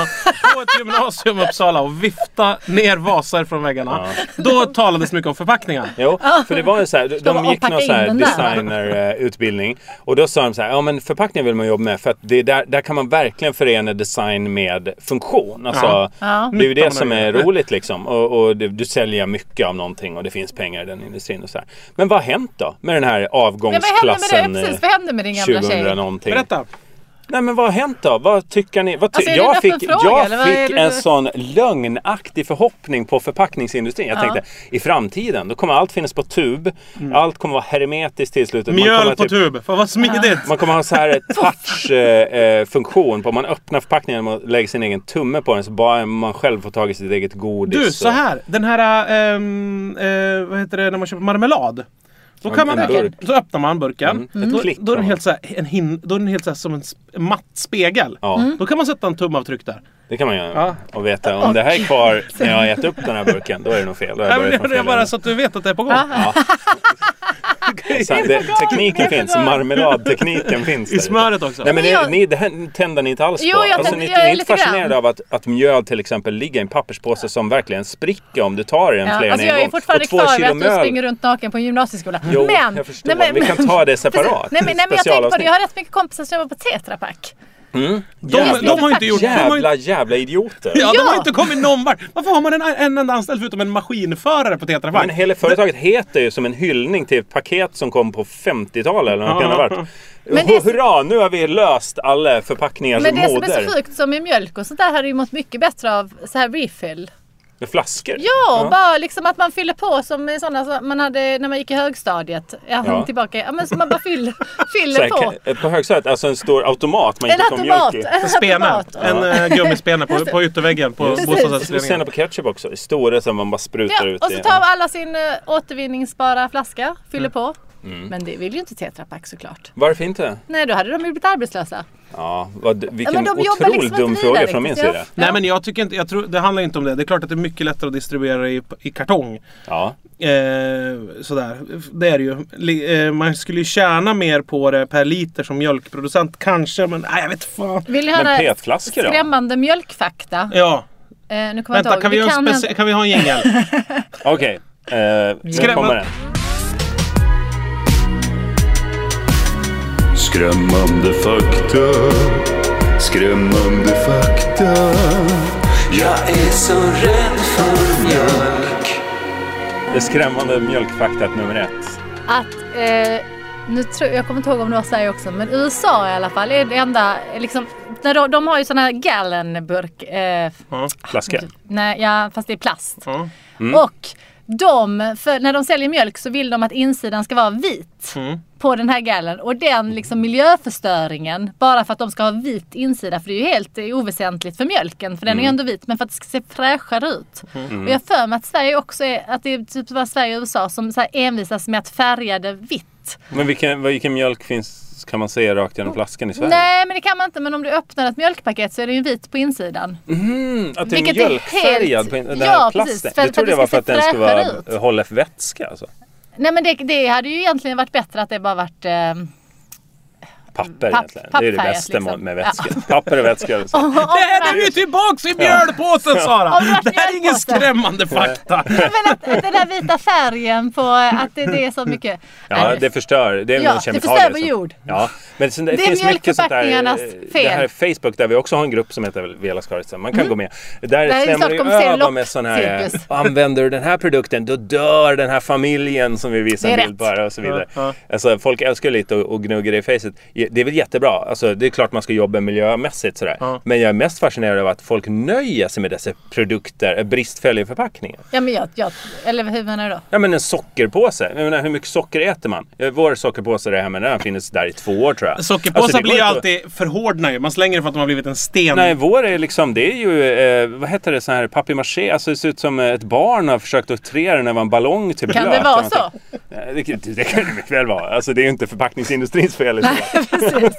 [SPEAKER 1] på ett gymnasium i Uppsala och vifta ner vaser från väggarna. Då talades mycket om förpackningar.
[SPEAKER 2] Jo, för det var ju så här, de, de
[SPEAKER 3] man
[SPEAKER 2] gick någon
[SPEAKER 3] packa
[SPEAKER 2] så här
[SPEAKER 3] in den där?
[SPEAKER 2] designerutbildning och då sa de så här, ja men förpackningar vill man jobba med för att det är där, där kan man verkligen förena design med funktion. Alltså,
[SPEAKER 1] Ja.
[SPEAKER 3] Ja.
[SPEAKER 2] Det är ju det
[SPEAKER 1] Nytta
[SPEAKER 2] som
[SPEAKER 1] man
[SPEAKER 2] är
[SPEAKER 1] gör.
[SPEAKER 2] roligt liksom och, och du, du säljer mycket av någonting och det finns pengar i den industrin och så här. Men vad har hänt då med den här
[SPEAKER 3] Ja, vad hände med det?
[SPEAKER 2] avgångsklassen?
[SPEAKER 3] Precis, vad hände med din gamla
[SPEAKER 2] 2000
[SPEAKER 3] tjej?
[SPEAKER 2] någonting.
[SPEAKER 1] Berätta!
[SPEAKER 2] Nej men vad har hänt då? Vad tycker ni? Vad ty-
[SPEAKER 3] Alltså, är det en
[SPEAKER 2] jag
[SPEAKER 3] öppen
[SPEAKER 2] fick,
[SPEAKER 3] fråga,
[SPEAKER 2] jag
[SPEAKER 3] eller vad är
[SPEAKER 2] fick
[SPEAKER 3] det
[SPEAKER 2] en
[SPEAKER 3] du-
[SPEAKER 2] sån lögnaktig förhoppning på förpackningsindustrin. Jag
[SPEAKER 3] Ja.
[SPEAKER 2] tänkte i framtiden då kommer allt finnas på tub. Allt kommer vara hermetiskt till slutet. Man kommer
[SPEAKER 1] Mm. Mjöl på
[SPEAKER 2] typ-
[SPEAKER 1] tub. Fan vad smidigt!
[SPEAKER 2] Man kommer ha så här
[SPEAKER 1] <laughs>
[SPEAKER 2] touch-funktion eh, på om man öppnar förpackningen och lägger sin egen tumme på den så bara man själv får tag i sitt eget godis.
[SPEAKER 1] Du,
[SPEAKER 2] och-
[SPEAKER 1] så här. Den här, ehm, eh, vad heter det, när man köper marmelad. Då,
[SPEAKER 2] Ja,
[SPEAKER 1] kan man,
[SPEAKER 2] en burk.
[SPEAKER 1] då öppnar man burken.
[SPEAKER 2] Mm, ett
[SPEAKER 1] Då,
[SPEAKER 2] klick
[SPEAKER 1] då är den
[SPEAKER 2] har
[SPEAKER 1] helt, så här, en hin, då är den helt så här, som en sp- matt spegel.
[SPEAKER 2] Ja,
[SPEAKER 1] Då kan man sätta en tumavtryck där.
[SPEAKER 2] det kan man göra.
[SPEAKER 1] Ja.
[SPEAKER 2] Och veta om det här är kvar när jag har
[SPEAKER 1] <laughs>
[SPEAKER 2] ätit upp den här burken, då är det nog fel. Då har jag
[SPEAKER 1] Nej, Äh, men
[SPEAKER 2] börjat
[SPEAKER 1] det
[SPEAKER 2] från
[SPEAKER 1] det är
[SPEAKER 2] fel
[SPEAKER 1] bara
[SPEAKER 2] ände.
[SPEAKER 1] så att du vet att det är på gång. <laughs>
[SPEAKER 2] Så att det, tekniken finns,
[SPEAKER 3] <laughs>
[SPEAKER 2] marmeladtekniken finns.
[SPEAKER 1] I
[SPEAKER 2] där.
[SPEAKER 1] smöret också.
[SPEAKER 2] Nej men
[SPEAKER 3] Men
[SPEAKER 2] det,
[SPEAKER 3] jag-
[SPEAKER 2] ni, det här tänder ni inte alls
[SPEAKER 3] Jo,
[SPEAKER 2] på.
[SPEAKER 3] jag
[SPEAKER 2] alltså,
[SPEAKER 3] tänder-
[SPEAKER 2] ni,
[SPEAKER 3] jag
[SPEAKER 2] ni
[SPEAKER 3] är
[SPEAKER 2] är inte
[SPEAKER 3] lite grann.
[SPEAKER 2] fascinerade av att, att mjöl till exempel ligger i en papperspåse som verkligen spricker om du tar i den
[SPEAKER 3] Ja,
[SPEAKER 2] fler
[SPEAKER 3] alltså
[SPEAKER 2] än en
[SPEAKER 3] jag är
[SPEAKER 2] gång.
[SPEAKER 3] fortfarande
[SPEAKER 2] Och två
[SPEAKER 3] kvar vid
[SPEAKER 2] kilo
[SPEAKER 3] att du
[SPEAKER 2] mjöl-
[SPEAKER 3] springer runt naken på en gymnasieskola.
[SPEAKER 2] Jo,
[SPEAKER 3] men,
[SPEAKER 2] jag förstår. vi kan ta det separat.
[SPEAKER 3] <laughs> Nej men, nej, men jag tänker på det.
[SPEAKER 2] Specialavsnitt.
[SPEAKER 3] Jag har rätt mycket kompisar som jobbar på Tetra
[SPEAKER 2] Alltså,
[SPEAKER 3] Pak.
[SPEAKER 1] De, de har ju inte gjort... De har ju,
[SPEAKER 2] Jävla, jävla idioter.
[SPEAKER 1] ja, de har
[SPEAKER 3] Ja.
[SPEAKER 1] inte kommit någon vart. Varför har man en, en enda anställd förutom en maskinförare på Tetra Pak?
[SPEAKER 2] Men hela företaget heter ju som en hyllning till ett paket som kom på 50-talet eller vad det kan ha varit.
[SPEAKER 3] Men det-
[SPEAKER 2] Hurra, nu har vi löst alla förpackningar
[SPEAKER 3] Men det som
[SPEAKER 2] moder.
[SPEAKER 3] är så sjukt som i mjölk och sånt där hade ju mått mycket bättre av så här refill.
[SPEAKER 2] Med flaskor.
[SPEAKER 3] Ja, och bara liksom att man fyller på som i sådana som man hade när man gick i högstadiet. Ja,
[SPEAKER 2] Ja.
[SPEAKER 3] tillbaka. Ja, men så man bara fyller,
[SPEAKER 2] <laughs> Så
[SPEAKER 3] fyller
[SPEAKER 2] här,
[SPEAKER 3] på.
[SPEAKER 2] ka- på högstadiet, alltså en stor automat man
[SPEAKER 3] En
[SPEAKER 2] gick och
[SPEAKER 3] automat.
[SPEAKER 2] mjölk
[SPEAKER 1] <laughs>
[SPEAKER 2] i.
[SPEAKER 3] En
[SPEAKER 1] Spene.
[SPEAKER 3] automat.
[SPEAKER 1] En eh, gummispene på, på ytterväggen på
[SPEAKER 2] Just det. Och
[SPEAKER 1] bostadsrättsföreningen.
[SPEAKER 2] sen på ketchup också. Det stora som man bara sprutar
[SPEAKER 3] Ja,
[SPEAKER 2] ut
[SPEAKER 3] och
[SPEAKER 2] i. Mm.
[SPEAKER 3] så tar alla sin eh, återvinningsbara flaska, fyller på. Men det vill ju inte Tetra Pak såklart.
[SPEAKER 2] Varför inte?
[SPEAKER 3] Nej, då hade de ju blivit arbetslösa.
[SPEAKER 2] Ja, vad, vilken
[SPEAKER 3] men de jobbar
[SPEAKER 2] otroligt
[SPEAKER 3] liksom
[SPEAKER 2] dum
[SPEAKER 3] inte
[SPEAKER 2] fråga
[SPEAKER 3] vidare
[SPEAKER 2] från min
[SPEAKER 3] riktigt.
[SPEAKER 2] sida.
[SPEAKER 1] Nej men jag tycker inte, jag tror, det handlar inte om det. Det är klart att det är mycket lättare att distribuera i, i kartong.
[SPEAKER 2] Ja.
[SPEAKER 1] Eh, sådär, det är det ju. Li, eh, man skulle ju tjäna mer på det per liter som mjölkproducent kanske, men nej, jag vet fan.
[SPEAKER 3] Vill ni
[SPEAKER 2] Men
[SPEAKER 3] höra
[SPEAKER 2] petflaskor då?
[SPEAKER 3] skrämmande mjölkfakta?
[SPEAKER 1] Ja,
[SPEAKER 3] Eh, nu kommer jag
[SPEAKER 1] vänta
[SPEAKER 3] inte
[SPEAKER 1] kan
[SPEAKER 3] ihåg.
[SPEAKER 1] vi,
[SPEAKER 3] Det
[SPEAKER 1] göra
[SPEAKER 3] kan
[SPEAKER 1] en
[SPEAKER 3] hända-
[SPEAKER 1] speci- kan vi ha en jingel?
[SPEAKER 2] Okej, eh, nu
[SPEAKER 1] Skrämma-
[SPEAKER 2] kommer den.
[SPEAKER 4] Skrämmande fakta Skrämmande fakta Jag är så rädd för mjölk
[SPEAKER 2] Det skrämmande mjölkfaktat nummer ett.
[SPEAKER 3] att, eh, nu tror, jag kommer inte ihåg om det var Sverige också, men USA i alla fall är det enda, eh, liksom, när de, de har ju sån här gallonburk. Eh,
[SPEAKER 1] Ja,
[SPEAKER 2] Flaska.
[SPEAKER 3] nej, ja, fast det är plast.
[SPEAKER 1] ja.
[SPEAKER 3] Och de, för när de säljer mjölk så vill de att insidan ska vara vit
[SPEAKER 1] Mm.
[SPEAKER 3] på den här gallen. Och den liksom miljöförstöringen, bara för att de ska ha vit insida, för det är ju helt eh, oväsentligt för mjölken, för den är
[SPEAKER 1] Mm.
[SPEAKER 3] ju ändå vit, men för att det ska se fräschare ut. Och jag har för mig att Sverige också är, att det är typ bara Sverige och USA som så här envisas med att färga det vitt.
[SPEAKER 2] Men vilken, vilken mjölk finns, kan man se rakt genom flaskan i Sverige?
[SPEAKER 3] Nej men det kan man inte, men om du öppnar ett mjölkpaket så är det ju vit på insidan.
[SPEAKER 2] Mm, att det är
[SPEAKER 3] Vilket är
[SPEAKER 2] mjölkfärgad
[SPEAKER 3] helt-
[SPEAKER 2] på in- den
[SPEAKER 3] Ja,
[SPEAKER 2] här
[SPEAKER 3] precis,
[SPEAKER 2] plasten.
[SPEAKER 3] för-
[SPEAKER 2] jag
[SPEAKER 3] för
[SPEAKER 2] trodde
[SPEAKER 3] att
[SPEAKER 2] det
[SPEAKER 3] det
[SPEAKER 2] var
[SPEAKER 3] ska
[SPEAKER 2] för att
[SPEAKER 3] se
[SPEAKER 2] den skulle
[SPEAKER 3] fräschare
[SPEAKER 2] vara, hålla för vätska. Alltså.
[SPEAKER 3] Nej men det, det hade ju egentligen varit bättre att det bara varit eh, <laughs>
[SPEAKER 2] Papper
[SPEAKER 3] Papp-
[SPEAKER 2] egentligen. Det är det
[SPEAKER 3] pappfärgat,
[SPEAKER 2] bästa
[SPEAKER 3] liksom.
[SPEAKER 2] med vätska. Papper och vätska.
[SPEAKER 3] <laughs>
[SPEAKER 2] Alltså.
[SPEAKER 1] Det här är ju tillbaks i mjölpåsen Sara!
[SPEAKER 3] Har du varit
[SPEAKER 1] Det här är ingen
[SPEAKER 3] mjölkpåse?
[SPEAKER 1] skrämmande fakta.
[SPEAKER 3] Men att, att den där vita färgen på eh, att det, det är så mycket.
[SPEAKER 2] Ja,
[SPEAKER 3] Nej,
[SPEAKER 2] det förstör. Det är
[SPEAKER 3] Ja,
[SPEAKER 2] väl
[SPEAKER 3] det
[SPEAKER 2] kemikalier
[SPEAKER 3] förstör vår
[SPEAKER 2] som-
[SPEAKER 3] jord.
[SPEAKER 2] Ja, men det, det
[SPEAKER 3] Det är
[SPEAKER 2] finns mycket sånt där. eh,
[SPEAKER 3] mjölkförpackningarnas
[SPEAKER 2] Det här
[SPEAKER 3] fel. Mm.
[SPEAKER 2] är Facebook där vi också har en grupp som heter Vela Skaritsen. Man kan gå med. Där
[SPEAKER 3] vi
[SPEAKER 2] slämmer
[SPEAKER 3] snart
[SPEAKER 2] vi
[SPEAKER 3] kommer se
[SPEAKER 2] över
[SPEAKER 3] lopp-
[SPEAKER 2] med sån här. eh,
[SPEAKER 3] cirkus.
[SPEAKER 2] Använder du den här produkten då dör den här familjen som vi visar
[SPEAKER 3] Det
[SPEAKER 2] en
[SPEAKER 3] är
[SPEAKER 2] bild på här och så vidare.
[SPEAKER 1] Ja, ja.
[SPEAKER 2] Alltså, folk älskar lite och, och gnuggar det i facet. Det är väl jättebra. Alltså, det är klart man ska jobba miljömässigt sådär.
[SPEAKER 1] Ja.
[SPEAKER 2] Men jag är mest fascinerad av att folk nöjer sig med dessa produkter, eh, bristfälliga förpackningar.
[SPEAKER 3] Ja men jag, jag eller hur menar du då?
[SPEAKER 2] Ja men en sockerpåse. Jag menar, hur mycket socker äter man? Eh, Vår sockerpåse där hemma, den har funnits där i två år tror jag.
[SPEAKER 1] Sockerpåsar
[SPEAKER 2] Alltså, det går
[SPEAKER 1] blir ju
[SPEAKER 2] inte att-
[SPEAKER 1] alltid förhårdna ju. Man slänger det för att de har blivit en sten.
[SPEAKER 2] Nej, vår är liksom, det är ju, eh, vad heter det, sån här papier-maché. Alltså det ser ut som eh, ett barn har försökt att trä den över en ballong till
[SPEAKER 3] Kan
[SPEAKER 2] blöt
[SPEAKER 3] det vara
[SPEAKER 2] eller någonting. Eh, Det, det kan det mycket väl vara. Alltså det är ju inte förpackningsindustrins fel. i
[SPEAKER 3] <laughs>
[SPEAKER 2] så fall.
[SPEAKER 3] Precis.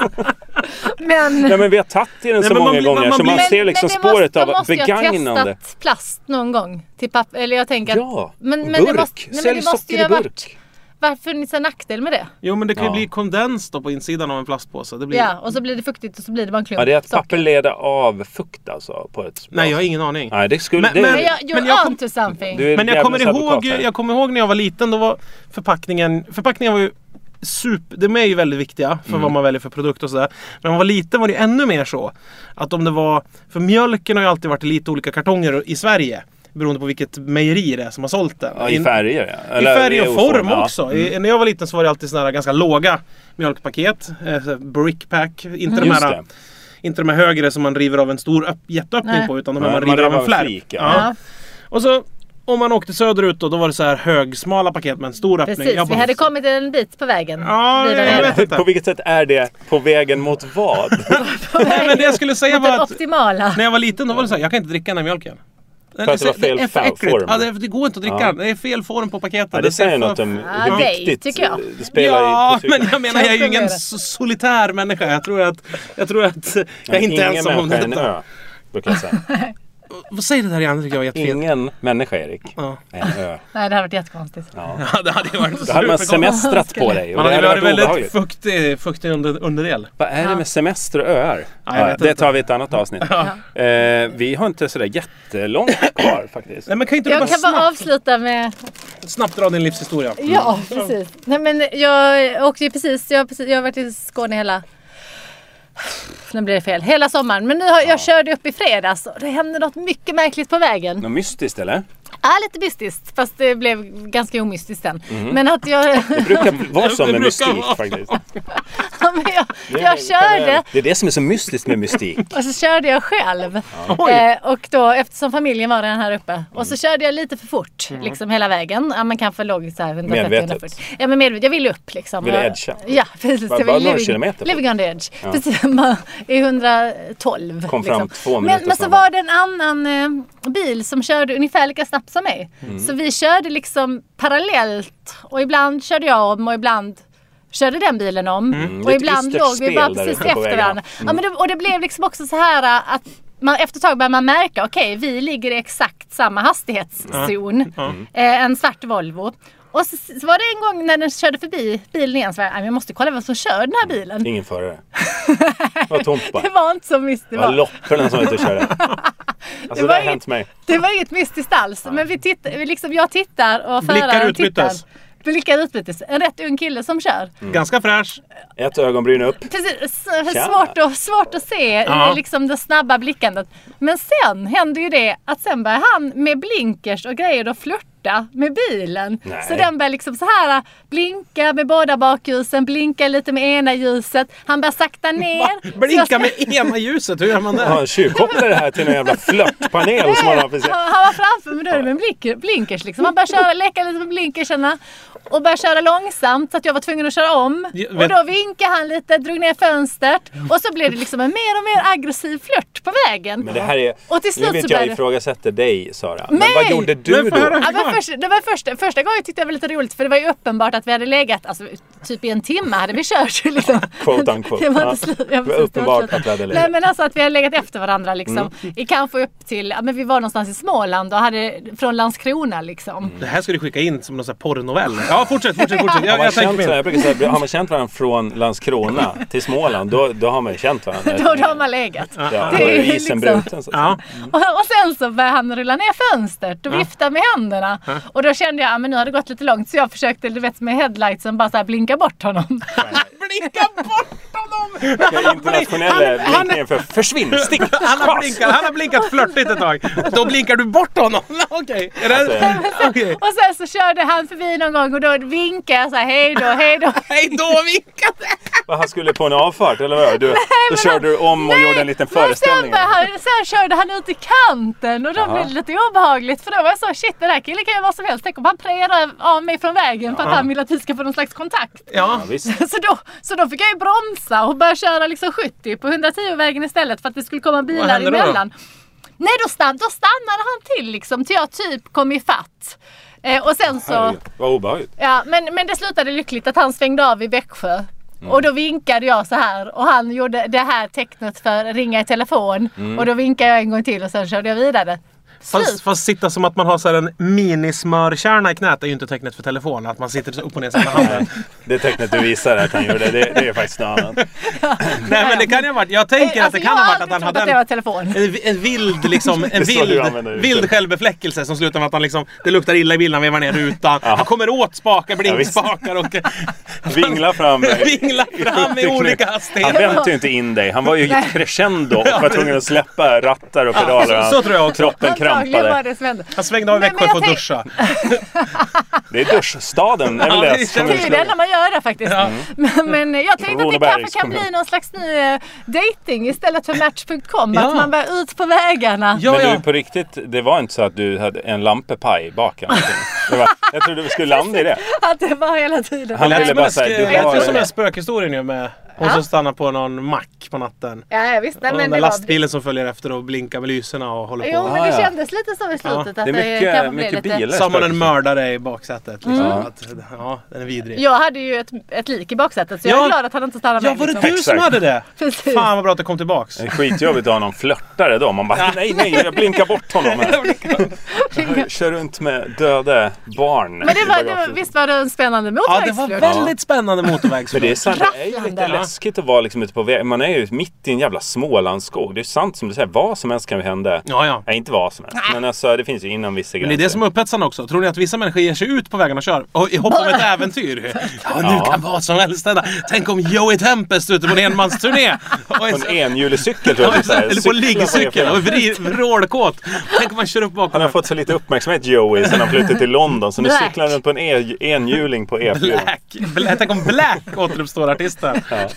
[SPEAKER 3] Men,
[SPEAKER 2] Nej men vi har tagit i den
[SPEAKER 1] Nej,
[SPEAKER 2] så
[SPEAKER 1] men man
[SPEAKER 2] många
[SPEAKER 1] blir-
[SPEAKER 2] gånger
[SPEAKER 1] man
[SPEAKER 2] så
[SPEAKER 1] blir-
[SPEAKER 2] man
[SPEAKER 1] Men-
[SPEAKER 2] ser liksom
[SPEAKER 3] det
[SPEAKER 2] spåret
[SPEAKER 3] måste,
[SPEAKER 2] av
[SPEAKER 3] måste ju ha
[SPEAKER 2] begagnande.
[SPEAKER 3] testat plast någon gång. Till papper, eller jag tänker att-
[SPEAKER 2] Ja,
[SPEAKER 3] men, men
[SPEAKER 2] burk.
[SPEAKER 3] Det måste, nej, men
[SPEAKER 2] Sälj
[SPEAKER 3] det måste
[SPEAKER 2] socker
[SPEAKER 3] ju
[SPEAKER 2] i
[SPEAKER 3] ha varit,
[SPEAKER 2] burk.
[SPEAKER 3] varför funnits en nackdel med det?
[SPEAKER 1] Jo men det kan ju
[SPEAKER 2] Ja.
[SPEAKER 1] bli kondens då på insidan av en plastpåse. Det blir...
[SPEAKER 3] Ja, och så blir det fuktigt och så blir det bara en klump.
[SPEAKER 2] Ja, det är att
[SPEAKER 3] socker.
[SPEAKER 2] papper leder av fukt alltså. På ett
[SPEAKER 1] Nej jag har ingen aning.
[SPEAKER 2] Nej, det skulle...
[SPEAKER 1] Men-
[SPEAKER 2] det,
[SPEAKER 1] men-
[SPEAKER 3] Men jag, you're
[SPEAKER 1] Men jag kom-
[SPEAKER 3] on to something.
[SPEAKER 2] du är
[SPEAKER 1] Men jag
[SPEAKER 2] djävulens
[SPEAKER 1] kommer, ihåg,
[SPEAKER 2] advokat här.
[SPEAKER 1] jag kommer ihåg när jag var liten, då var förpackningen... Förpackningen var ju super... De är ju väldigt viktiga för vad man väljer för produkt och sådär. Men när man var liten var det ju ännu mer så. Att om det var... För mjölken har ju alltid varit i lite olika kartonger i Sverige. beroende på vilket mejeri det är som har sålt den.
[SPEAKER 2] Ja, I
[SPEAKER 1] In-
[SPEAKER 2] färger ja.
[SPEAKER 1] I
[SPEAKER 2] Eller
[SPEAKER 1] färg och form
[SPEAKER 2] ja. Mm.
[SPEAKER 1] också. I, när jag var liten så var det alltid sådana här ganska låga mjölkpaket. Eh, så här brickpack. Inte, de
[SPEAKER 2] Just
[SPEAKER 1] här,
[SPEAKER 2] det.
[SPEAKER 1] inte de här högre som man river av en stor öpp, jätteöppning
[SPEAKER 3] Nej.
[SPEAKER 1] på utan de
[SPEAKER 2] Nej,
[SPEAKER 1] här man
[SPEAKER 2] man
[SPEAKER 1] river av
[SPEAKER 2] rev
[SPEAKER 1] en flärp.
[SPEAKER 2] flik, ja.
[SPEAKER 1] Ja. Och så om man åkte söderut då, då var det så här högsmala paket med en stor öppning.
[SPEAKER 3] Precis,
[SPEAKER 1] Jag
[SPEAKER 3] vi
[SPEAKER 1] bara-
[SPEAKER 3] hade kommit en bit på vägen.
[SPEAKER 1] Ja,
[SPEAKER 3] Vidare. <laughs>
[SPEAKER 1] jag vet inte.
[SPEAKER 2] <laughs> På vilket sätt är det på vägen mot vad?
[SPEAKER 1] <laughs> <laughs> Nej, men det jag skulle säga var
[SPEAKER 3] Den
[SPEAKER 1] att
[SPEAKER 3] optimala.
[SPEAKER 1] när jag var liten då var det så här, jag kan inte dricka den här mjölken. Den
[SPEAKER 2] För att det var
[SPEAKER 1] så-
[SPEAKER 2] fel
[SPEAKER 1] är för
[SPEAKER 2] fa-
[SPEAKER 1] äckligt.
[SPEAKER 2] form.
[SPEAKER 1] Ja, det, det går inte att dricka
[SPEAKER 2] Ja.
[SPEAKER 1] den. Det är fel form på paketet.
[SPEAKER 2] Ja,
[SPEAKER 1] Det
[SPEAKER 2] det
[SPEAKER 1] ser
[SPEAKER 2] säger
[SPEAKER 1] för-
[SPEAKER 2] något om
[SPEAKER 3] Ja,
[SPEAKER 2] hur
[SPEAKER 3] dig,
[SPEAKER 2] viktigt
[SPEAKER 3] tycker jag.
[SPEAKER 2] det spelar
[SPEAKER 1] ja,
[SPEAKER 2] i på
[SPEAKER 1] men
[SPEAKER 2] cykeln.
[SPEAKER 1] jag menar jag är ju
[SPEAKER 3] Kanske
[SPEAKER 1] ingen
[SPEAKER 3] mer.
[SPEAKER 1] so- solitär människa. Jag tror att jag, tror att jag är inte
[SPEAKER 2] Ingen
[SPEAKER 1] ensam om
[SPEAKER 2] människa är en
[SPEAKER 1] detta.
[SPEAKER 2] ö, brukar jag
[SPEAKER 1] <laughs>
[SPEAKER 2] säga.
[SPEAKER 1] Vad säger det där igen? Det tycker jag var jättefint.
[SPEAKER 2] Ingen människa Erik
[SPEAKER 1] Ja.
[SPEAKER 2] är en
[SPEAKER 1] <laughs>
[SPEAKER 2] ö.
[SPEAKER 3] Nej, det hade varit jättekonstigt.
[SPEAKER 2] Ja.
[SPEAKER 1] Ja, det hade ju varit
[SPEAKER 2] Då hade man
[SPEAKER 1] superkonstigt.
[SPEAKER 2] semestrat på dig och
[SPEAKER 1] Man
[SPEAKER 2] det
[SPEAKER 1] hade
[SPEAKER 2] hade
[SPEAKER 1] varit
[SPEAKER 2] varit
[SPEAKER 1] väldigt
[SPEAKER 2] obehagligt.
[SPEAKER 1] fuktig, fuktig under, underdel.
[SPEAKER 2] Vad är det
[SPEAKER 3] Ja.
[SPEAKER 2] med semester och öar?
[SPEAKER 1] Ja, jag
[SPEAKER 2] Ja,
[SPEAKER 1] vet
[SPEAKER 2] det
[SPEAKER 1] inte.
[SPEAKER 2] tar vi i ett annat avsnitt. Eh, vi har inte sådär jättelångt kvar faktiskt.
[SPEAKER 1] Nej men kan inte du bara
[SPEAKER 3] Jag kan bara
[SPEAKER 1] snabbt,
[SPEAKER 3] avsluta med
[SPEAKER 1] snabbt dra din livshistoria?
[SPEAKER 3] Ja,
[SPEAKER 2] Mm.
[SPEAKER 3] precis. Nej, men jag åkte ju precis, jag, har precis, jag har varit i Skåne hela... Nu blir det fel. Hela sommaren. Men nu har, jag körde upp i fredags och det hände något mycket märkligt på vägen.
[SPEAKER 2] Något mystiskt eller?
[SPEAKER 3] Är lite mystiskt, fast det blev ganska omystiskt sen.
[SPEAKER 2] Mm.
[SPEAKER 3] Men att jag... <laughs>
[SPEAKER 2] Det brukar vara
[SPEAKER 1] Det
[SPEAKER 2] som
[SPEAKER 1] brukar
[SPEAKER 2] med mystik
[SPEAKER 1] vara.
[SPEAKER 2] faktiskt.
[SPEAKER 3] men jag,
[SPEAKER 2] Det är
[SPEAKER 3] jag körde
[SPEAKER 2] generellt. Det är det som är så mystiskt med mystik.
[SPEAKER 3] <laughs> och så körde jag själv.
[SPEAKER 1] Oj!
[SPEAKER 3] Eh, och då, eftersom familjen var den här uppe. Och
[SPEAKER 2] Mm.
[SPEAKER 3] så körde jag lite för fort, liksom hela vägen. Ja, man kanske låg så här 130
[SPEAKER 2] Medvetet.
[SPEAKER 3] 140. Ja, men medvetet. Jag ville upp liksom.
[SPEAKER 2] Ville
[SPEAKER 3] Jag-
[SPEAKER 2] edga.
[SPEAKER 3] Ja, precis.
[SPEAKER 2] Bara-
[SPEAKER 3] Jag
[SPEAKER 2] bara
[SPEAKER 3] ville
[SPEAKER 2] några
[SPEAKER 3] living-
[SPEAKER 2] kilometer fort.
[SPEAKER 3] Living on the edge. Precis, man är 112.
[SPEAKER 2] Kom fram två minuter
[SPEAKER 3] men, men så
[SPEAKER 2] snabbare.
[SPEAKER 3] var det en annan eh, bil som körde ungefär lika snabbt som mig.
[SPEAKER 2] Mm.
[SPEAKER 3] Så vi körde liksom parallellt. Och ibland körde jag om och ibland körde den bilen om. Och
[SPEAKER 2] Mm. Lite
[SPEAKER 3] ibland
[SPEAKER 2] ystert
[SPEAKER 3] låg vi bara
[SPEAKER 2] spel där
[SPEAKER 3] precis
[SPEAKER 2] ute på
[SPEAKER 3] efter
[SPEAKER 2] vägarna.
[SPEAKER 3] varandra. Ja, men det, och det blev liksom också så här äh, att man, efter ett tag börjar man märka, okej vi ligger i exakt samma hastighetszon. Eh, en svart Volvo. Och så, så var det en gång när den körde förbi bilen igen så var jag, "Nej, men jag måste kolla vem som kör den här bilen.
[SPEAKER 2] Ingen förare. Det var tomt bara.
[SPEAKER 3] <laughs> Det var inte så mysigt.
[SPEAKER 2] Det var lopporna som var ute och
[SPEAKER 3] <laughs>
[SPEAKER 2] körde. Alltså det,
[SPEAKER 3] var
[SPEAKER 2] har
[SPEAKER 3] inget-
[SPEAKER 2] hänt mig.
[SPEAKER 3] Det var inget mystiskt alls. Men vi titt, vi liksom, jag tittar och
[SPEAKER 1] Blickar
[SPEAKER 3] föraren tittar.
[SPEAKER 1] utbytes.
[SPEAKER 3] Blickar utbytes. En rätt ung kille som kör.
[SPEAKER 1] Mm. Ganska fräsch.
[SPEAKER 2] Ett ögonbryn upp.
[SPEAKER 3] Precis,
[SPEAKER 2] Tja.
[SPEAKER 3] svårt, att, svårt att se
[SPEAKER 1] Ja.
[SPEAKER 3] eh, liksom det snabba blickandet. Men sen händer ju det att sen börjar han med blinkers och grejer och flörta med bilen.
[SPEAKER 2] Nej.
[SPEAKER 3] Så den börjar liksom så här eh, blinka med båda bakljusen, blinka lite med ena ljuset. Han börjar sakta ner. Så jag Mm.
[SPEAKER 1] Blinka
[SPEAKER 3] ska-
[SPEAKER 1] med ena ljuset, hur gör man det?
[SPEAKER 2] Han tjuvkopplar det här till en jävla flörtpanel som han har precis.
[SPEAKER 3] Han, han var framför men då är det med blink, blinkers liksom. Han började köra, leka lite med blinkersarna och började köra långsamt så att jag var tvungen att köra om.
[SPEAKER 1] Ja,
[SPEAKER 3] Och
[SPEAKER 1] men-
[SPEAKER 3] då vinkade han lite, drog ner fönstret och så blev det liksom en mer och mer aggressiv flört på vägen.
[SPEAKER 2] Men det här är...
[SPEAKER 3] Och till
[SPEAKER 2] nu
[SPEAKER 3] slut så
[SPEAKER 2] vet
[SPEAKER 3] började
[SPEAKER 2] jag
[SPEAKER 3] det...
[SPEAKER 2] ifrågasätter dig Sara. Men
[SPEAKER 3] Nej!
[SPEAKER 2] vad gjorde du
[SPEAKER 1] Men får jag
[SPEAKER 2] då?
[SPEAKER 1] höra?
[SPEAKER 3] Ja, men först, det var första, första gången tyckte jag det var lite roligt för det var ju uppenbart att vi hade legat alltså, typ i en timme hade vi kört. <laughs> Liksom.
[SPEAKER 2] Quote unquote.
[SPEAKER 3] <laughs> Det var
[SPEAKER 2] Ja.
[SPEAKER 3] inte slut.
[SPEAKER 2] Det
[SPEAKER 3] Ja,
[SPEAKER 2] var
[SPEAKER 3] precis, det var
[SPEAKER 2] uppenbart
[SPEAKER 3] inte
[SPEAKER 2] att
[SPEAKER 3] slut.
[SPEAKER 2] vi hade legat.
[SPEAKER 3] Nej men alltså att vi hade legat efter varandra
[SPEAKER 2] Mm.
[SPEAKER 3] liksom. I kanske upp till, ja, men vi var någonstans i Småland och hade från Landskrona liksom.
[SPEAKER 2] Mm.
[SPEAKER 1] Det här ska du skicka in som någon sån här porrnovell. Ja, fortsätt, fortsätt, fortsätt.
[SPEAKER 2] Har
[SPEAKER 1] Jag,
[SPEAKER 2] man,
[SPEAKER 1] jag tänker
[SPEAKER 2] känt,
[SPEAKER 1] mig.
[SPEAKER 2] så här- jag brukar säga, har man känt varandra från Landskrona till Småland, då, då har man ju känt varandra.
[SPEAKER 3] <laughs> Då, då har man legat.
[SPEAKER 2] ja,
[SPEAKER 3] det
[SPEAKER 2] då är
[SPEAKER 3] är
[SPEAKER 2] isen
[SPEAKER 3] liksom-
[SPEAKER 2] bruten. Så. att säga.
[SPEAKER 1] Ja.
[SPEAKER 3] Och, och sen så började han rulla ner fönstret och vifta med händerna. Och då kände jag att men nu har det gått lite långt så jag försökte du vet, med headlightsen bara så här blinka bort honom. <laughs>
[SPEAKER 1] Blinka bort honom!
[SPEAKER 2] Den internationella blinkningen för försvinn, stick,
[SPEAKER 1] Han har,
[SPEAKER 2] schas.
[SPEAKER 1] blinkat, han har blinkat flörtigt ett tag. Då blinkar du bort honom. <laughs> Okej. Är
[SPEAKER 2] Alltså,
[SPEAKER 1] det... Okej.
[SPEAKER 3] Och sen så körde han förbi någon gång och då vinkade jag så här hej då, hej då.
[SPEAKER 1] Hej då vinkade!
[SPEAKER 2] Vad, Han skulle på en avfart eller vad? Du, då körde du om och gjorde en liten föreställning.
[SPEAKER 3] Men sen, började han, sen körde han ut i kanten och då blev det lite obehagligt för då var jag så shit den här killen kan göra vad som helst. Tänk om han prejar av mig från vägen för att han vill att vi ska få någon slags kontakt.
[SPEAKER 1] Ja.
[SPEAKER 2] Ja, visst.
[SPEAKER 3] <laughs> Så då, så då fick jag ju bromsa och börja köra liksom 70 på 110-vägen istället för att det skulle komma bilar
[SPEAKER 1] hände då då?
[SPEAKER 3] emellan. Nej, då, stann, då stannade han till liksom till jag typ kom ifatt. Eh, och sen så...
[SPEAKER 2] Herregud, Vad obehagligt.
[SPEAKER 3] Ja, men, men det slutade lyckligt att han svängde av i Växjö.
[SPEAKER 1] Mm.
[SPEAKER 3] Och då vinkade jag så här och han gjorde det här tecknet för ringa i telefon.
[SPEAKER 1] Mm.
[SPEAKER 3] Och då vinkade jag en gång till och sen körde jag vidare.
[SPEAKER 1] Fast, fast sitta som att man har så här en minismörkärna i knät är ju inte tecknet för telefon. Att man sitter så upp och ner så här med handen.
[SPEAKER 2] Det tecknet du visar att han gjorde, det, det är faktiskt något annat.
[SPEAKER 1] Nej men det kan ju ha varit. Jag tänker att det kan
[SPEAKER 3] Alltså,
[SPEAKER 1] ha
[SPEAKER 3] jag har
[SPEAKER 1] varit att
[SPEAKER 3] aldrig
[SPEAKER 1] han
[SPEAKER 3] trott
[SPEAKER 1] hade
[SPEAKER 3] att det var
[SPEAKER 1] en,
[SPEAKER 3] telefon.
[SPEAKER 1] en, vi- en vild liksom. En
[SPEAKER 2] är så du
[SPEAKER 1] vild,
[SPEAKER 2] använder <laughs> det.
[SPEAKER 1] vild självbefläckelse som slutar med att han liksom. Det luktar illa i bilen. Han vevar ner rutan. Han kommer åt spakar, blinkspakar och
[SPEAKER 2] Vingla fram.
[SPEAKER 1] vinglar
[SPEAKER 2] <laughs>
[SPEAKER 1] fram i olika
[SPEAKER 2] Han
[SPEAKER 1] hastigheter.
[SPEAKER 2] väntade ju inte in dig. Han var ju i crescendo och var tvungen att släppa rattar och pedaler.
[SPEAKER 1] så- så tror jag också.
[SPEAKER 2] Kroppen
[SPEAKER 3] Han antagligen var
[SPEAKER 2] trampade.
[SPEAKER 3] det som hände.
[SPEAKER 1] Han svängde av i
[SPEAKER 3] Nej,
[SPEAKER 1] Växjö
[SPEAKER 3] men
[SPEAKER 1] för att
[SPEAKER 3] jag
[SPEAKER 1] duscha.
[SPEAKER 2] Det är duschstaden, är väl
[SPEAKER 1] Ja,
[SPEAKER 2] det
[SPEAKER 1] det
[SPEAKER 2] som
[SPEAKER 1] känns-
[SPEAKER 3] Det är det enda man gör där faktiskt. Men, men jag tänkte att det
[SPEAKER 2] Kronobergs
[SPEAKER 3] kanske kan
[SPEAKER 2] kommun.
[SPEAKER 3] bli någon slags ny eh, dating istället för Match.com.
[SPEAKER 1] Ja.
[SPEAKER 3] Att man börjar ut på vägarna.
[SPEAKER 1] Ja,
[SPEAKER 2] Men
[SPEAKER 1] ja.
[SPEAKER 2] du, på riktigt, det var inte så att du hade en lampepaj bak eller någonting. Det var, jag trodde du skulle landa i det.
[SPEAKER 3] <laughs> Att det var hela tiden.
[SPEAKER 2] Han
[SPEAKER 1] Det lät
[SPEAKER 2] ville
[SPEAKER 1] som en
[SPEAKER 2] bara säga,
[SPEAKER 1] sk-
[SPEAKER 2] du
[SPEAKER 1] det lät
[SPEAKER 2] har
[SPEAKER 1] ju som
[SPEAKER 2] det.
[SPEAKER 1] en spökhistoria nu med hon
[SPEAKER 3] Ja.
[SPEAKER 1] som stannar på någon mack på natten.
[SPEAKER 3] Ja, ja, visst. Nej,
[SPEAKER 1] Och
[SPEAKER 3] men
[SPEAKER 1] den
[SPEAKER 3] det
[SPEAKER 1] där
[SPEAKER 3] var...
[SPEAKER 1] lastbilen som följer efter och blinkar med lyserna och håller
[SPEAKER 3] Jo,
[SPEAKER 1] på.
[SPEAKER 3] men
[SPEAKER 2] Ah,
[SPEAKER 3] det
[SPEAKER 2] ja.
[SPEAKER 3] kändes lite så i slutet. Att
[SPEAKER 2] Det är mycket-
[SPEAKER 3] kanske blir
[SPEAKER 2] mycket
[SPEAKER 3] lite...
[SPEAKER 2] bilar.
[SPEAKER 1] Så har man en mördare i baksätet. Liksom.
[SPEAKER 2] Mm.
[SPEAKER 1] Att, ja, den är vidrig.
[SPEAKER 3] Jag hade ju ett, ett lik i baksätet så jag
[SPEAKER 1] Ja.
[SPEAKER 3] är glad att han inte stannade
[SPEAKER 1] Ja,
[SPEAKER 3] med.
[SPEAKER 1] var det
[SPEAKER 3] liksom.
[SPEAKER 1] du som
[SPEAKER 2] Exakt.
[SPEAKER 1] hade det?
[SPEAKER 3] Precis.
[SPEAKER 1] Fan vad bra att det kom tillbaks.
[SPEAKER 2] Det är skitjobbigt att ha någon flörtare då. Man bara, nej, nej, jag blinkar bort
[SPEAKER 1] <laughs>
[SPEAKER 2] honom. Här. Jag Kör runt med döda barn.
[SPEAKER 3] Men det
[SPEAKER 2] i
[SPEAKER 3] var, det var,
[SPEAKER 2] bagaget.
[SPEAKER 3] visst var det en spännande
[SPEAKER 1] Ja, det var
[SPEAKER 3] motorvägsflört?
[SPEAKER 1] väldigt spännande
[SPEAKER 2] Men
[SPEAKER 1] motorvägsflört.
[SPEAKER 2] det är sant, det är ju lite
[SPEAKER 3] Rafflande.
[SPEAKER 2] läskigt att vara liksom ute på väg. Man är ju mitt i en jävla Smålandsskog. Det är sant som du säger, vad som helst kan ju hända.
[SPEAKER 1] Ja, ja.
[SPEAKER 2] Nej, inte vad som helst. Men alltså, det finns ju inom vissa gränser.
[SPEAKER 1] Men det är det som är upphetsande också. Tror ni att vissa människor ger sig ut på vägarna och kör? Och i hopp om
[SPEAKER 3] <laughs>
[SPEAKER 1] ett
[SPEAKER 2] <laughs>
[SPEAKER 1] äventyr? Ja, nu
[SPEAKER 2] Ja.
[SPEAKER 1] kan vad som helst hända. Tänk om Joey Tempest är ute på en enmansturné! Och
[SPEAKER 2] På en enhjulecykel tror jag. att det är typ så här.
[SPEAKER 1] Eller på
[SPEAKER 2] Cyklar
[SPEAKER 1] en liggcykel
[SPEAKER 2] E4.
[SPEAKER 1] och vri- vrålkåt. Tänk om man kör upp bakom
[SPEAKER 2] Han har fått så lite uppmärksamhet Joey sen han flyttade till London. Så nu
[SPEAKER 3] Black.
[SPEAKER 2] cyklar han runt på en e- enhjuling på E4.
[SPEAKER 1] Black. Bla- Tänk om Black återuppstår artisten.
[SPEAKER 3] Ja, det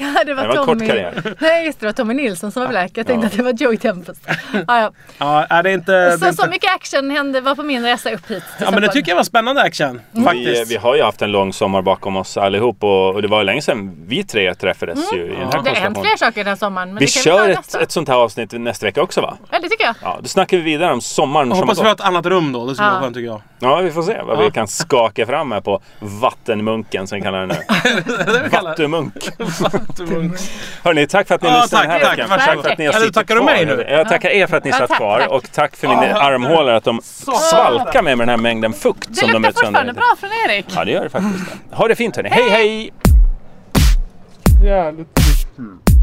[SPEAKER 3] var,
[SPEAKER 2] Det var en kort
[SPEAKER 3] Tommy.
[SPEAKER 2] karriär.
[SPEAKER 3] Nej, just det. Det var Tommy Nilsson som var black. Jag tänkte att det var Joey Tempest. Ja, ja.
[SPEAKER 1] Ja, är det inte... det är
[SPEAKER 3] Så,
[SPEAKER 1] inte...
[SPEAKER 3] så mycket action hände var på min resa upp hit.
[SPEAKER 1] Ja men det tycker jag var spännande action.
[SPEAKER 2] Vi, eh,
[SPEAKER 1] Faktiskt.
[SPEAKER 2] vi har ju haft en lång sommar bakom oss allihop och, och det var ju länge sedan vi tre träffades ju i den här
[SPEAKER 3] Mm. Det har hänt
[SPEAKER 2] konstellationen.
[SPEAKER 3] fler saker den här sommaren. Men
[SPEAKER 2] Vi
[SPEAKER 3] det kan
[SPEAKER 2] kör
[SPEAKER 3] vi ta
[SPEAKER 2] ett,
[SPEAKER 3] nästa.
[SPEAKER 2] ett sånt här avsnitt nästa vecka också va?
[SPEAKER 3] Ja, det tycker jag.
[SPEAKER 2] Ja, då snackar vi vidare om sommaren
[SPEAKER 1] Jag
[SPEAKER 2] som har
[SPEAKER 1] hoppas vi har
[SPEAKER 2] gått.
[SPEAKER 1] ett annat rum då. Det skulle
[SPEAKER 3] Ja.
[SPEAKER 1] vara skönt tycker
[SPEAKER 2] <laughs>
[SPEAKER 1] jag.
[SPEAKER 2] Ja, vi får se vad vi kan skaka fram här på Vattenmunken som vi kallar den
[SPEAKER 1] <laughs>
[SPEAKER 2] nu. Vattumunk. Hörni, tack för att ni
[SPEAKER 1] Ja,
[SPEAKER 2] lyssnade den
[SPEAKER 1] tack,
[SPEAKER 2] här
[SPEAKER 1] tack.
[SPEAKER 2] veckan.
[SPEAKER 1] Varsågod.
[SPEAKER 2] för att ni har
[SPEAKER 1] Eller
[SPEAKER 2] suttit
[SPEAKER 1] tackar du
[SPEAKER 2] kvar.
[SPEAKER 1] mig nu?
[SPEAKER 2] Jag tackar er för att ni
[SPEAKER 3] Ja,
[SPEAKER 2] satt
[SPEAKER 3] tack,
[SPEAKER 2] kvar
[SPEAKER 3] tack.
[SPEAKER 2] och tack för mina
[SPEAKER 1] Ja.
[SPEAKER 2] armhålor att de svalkar med, med den här mängden fukt
[SPEAKER 3] Det
[SPEAKER 2] som de
[SPEAKER 3] luktar
[SPEAKER 2] utsöndrar.
[SPEAKER 3] fortfarande bra från Erik.
[SPEAKER 2] Ja, det gör det faktiskt. Ha det fint hörni. Hej, hej!
[SPEAKER 1] Jävligt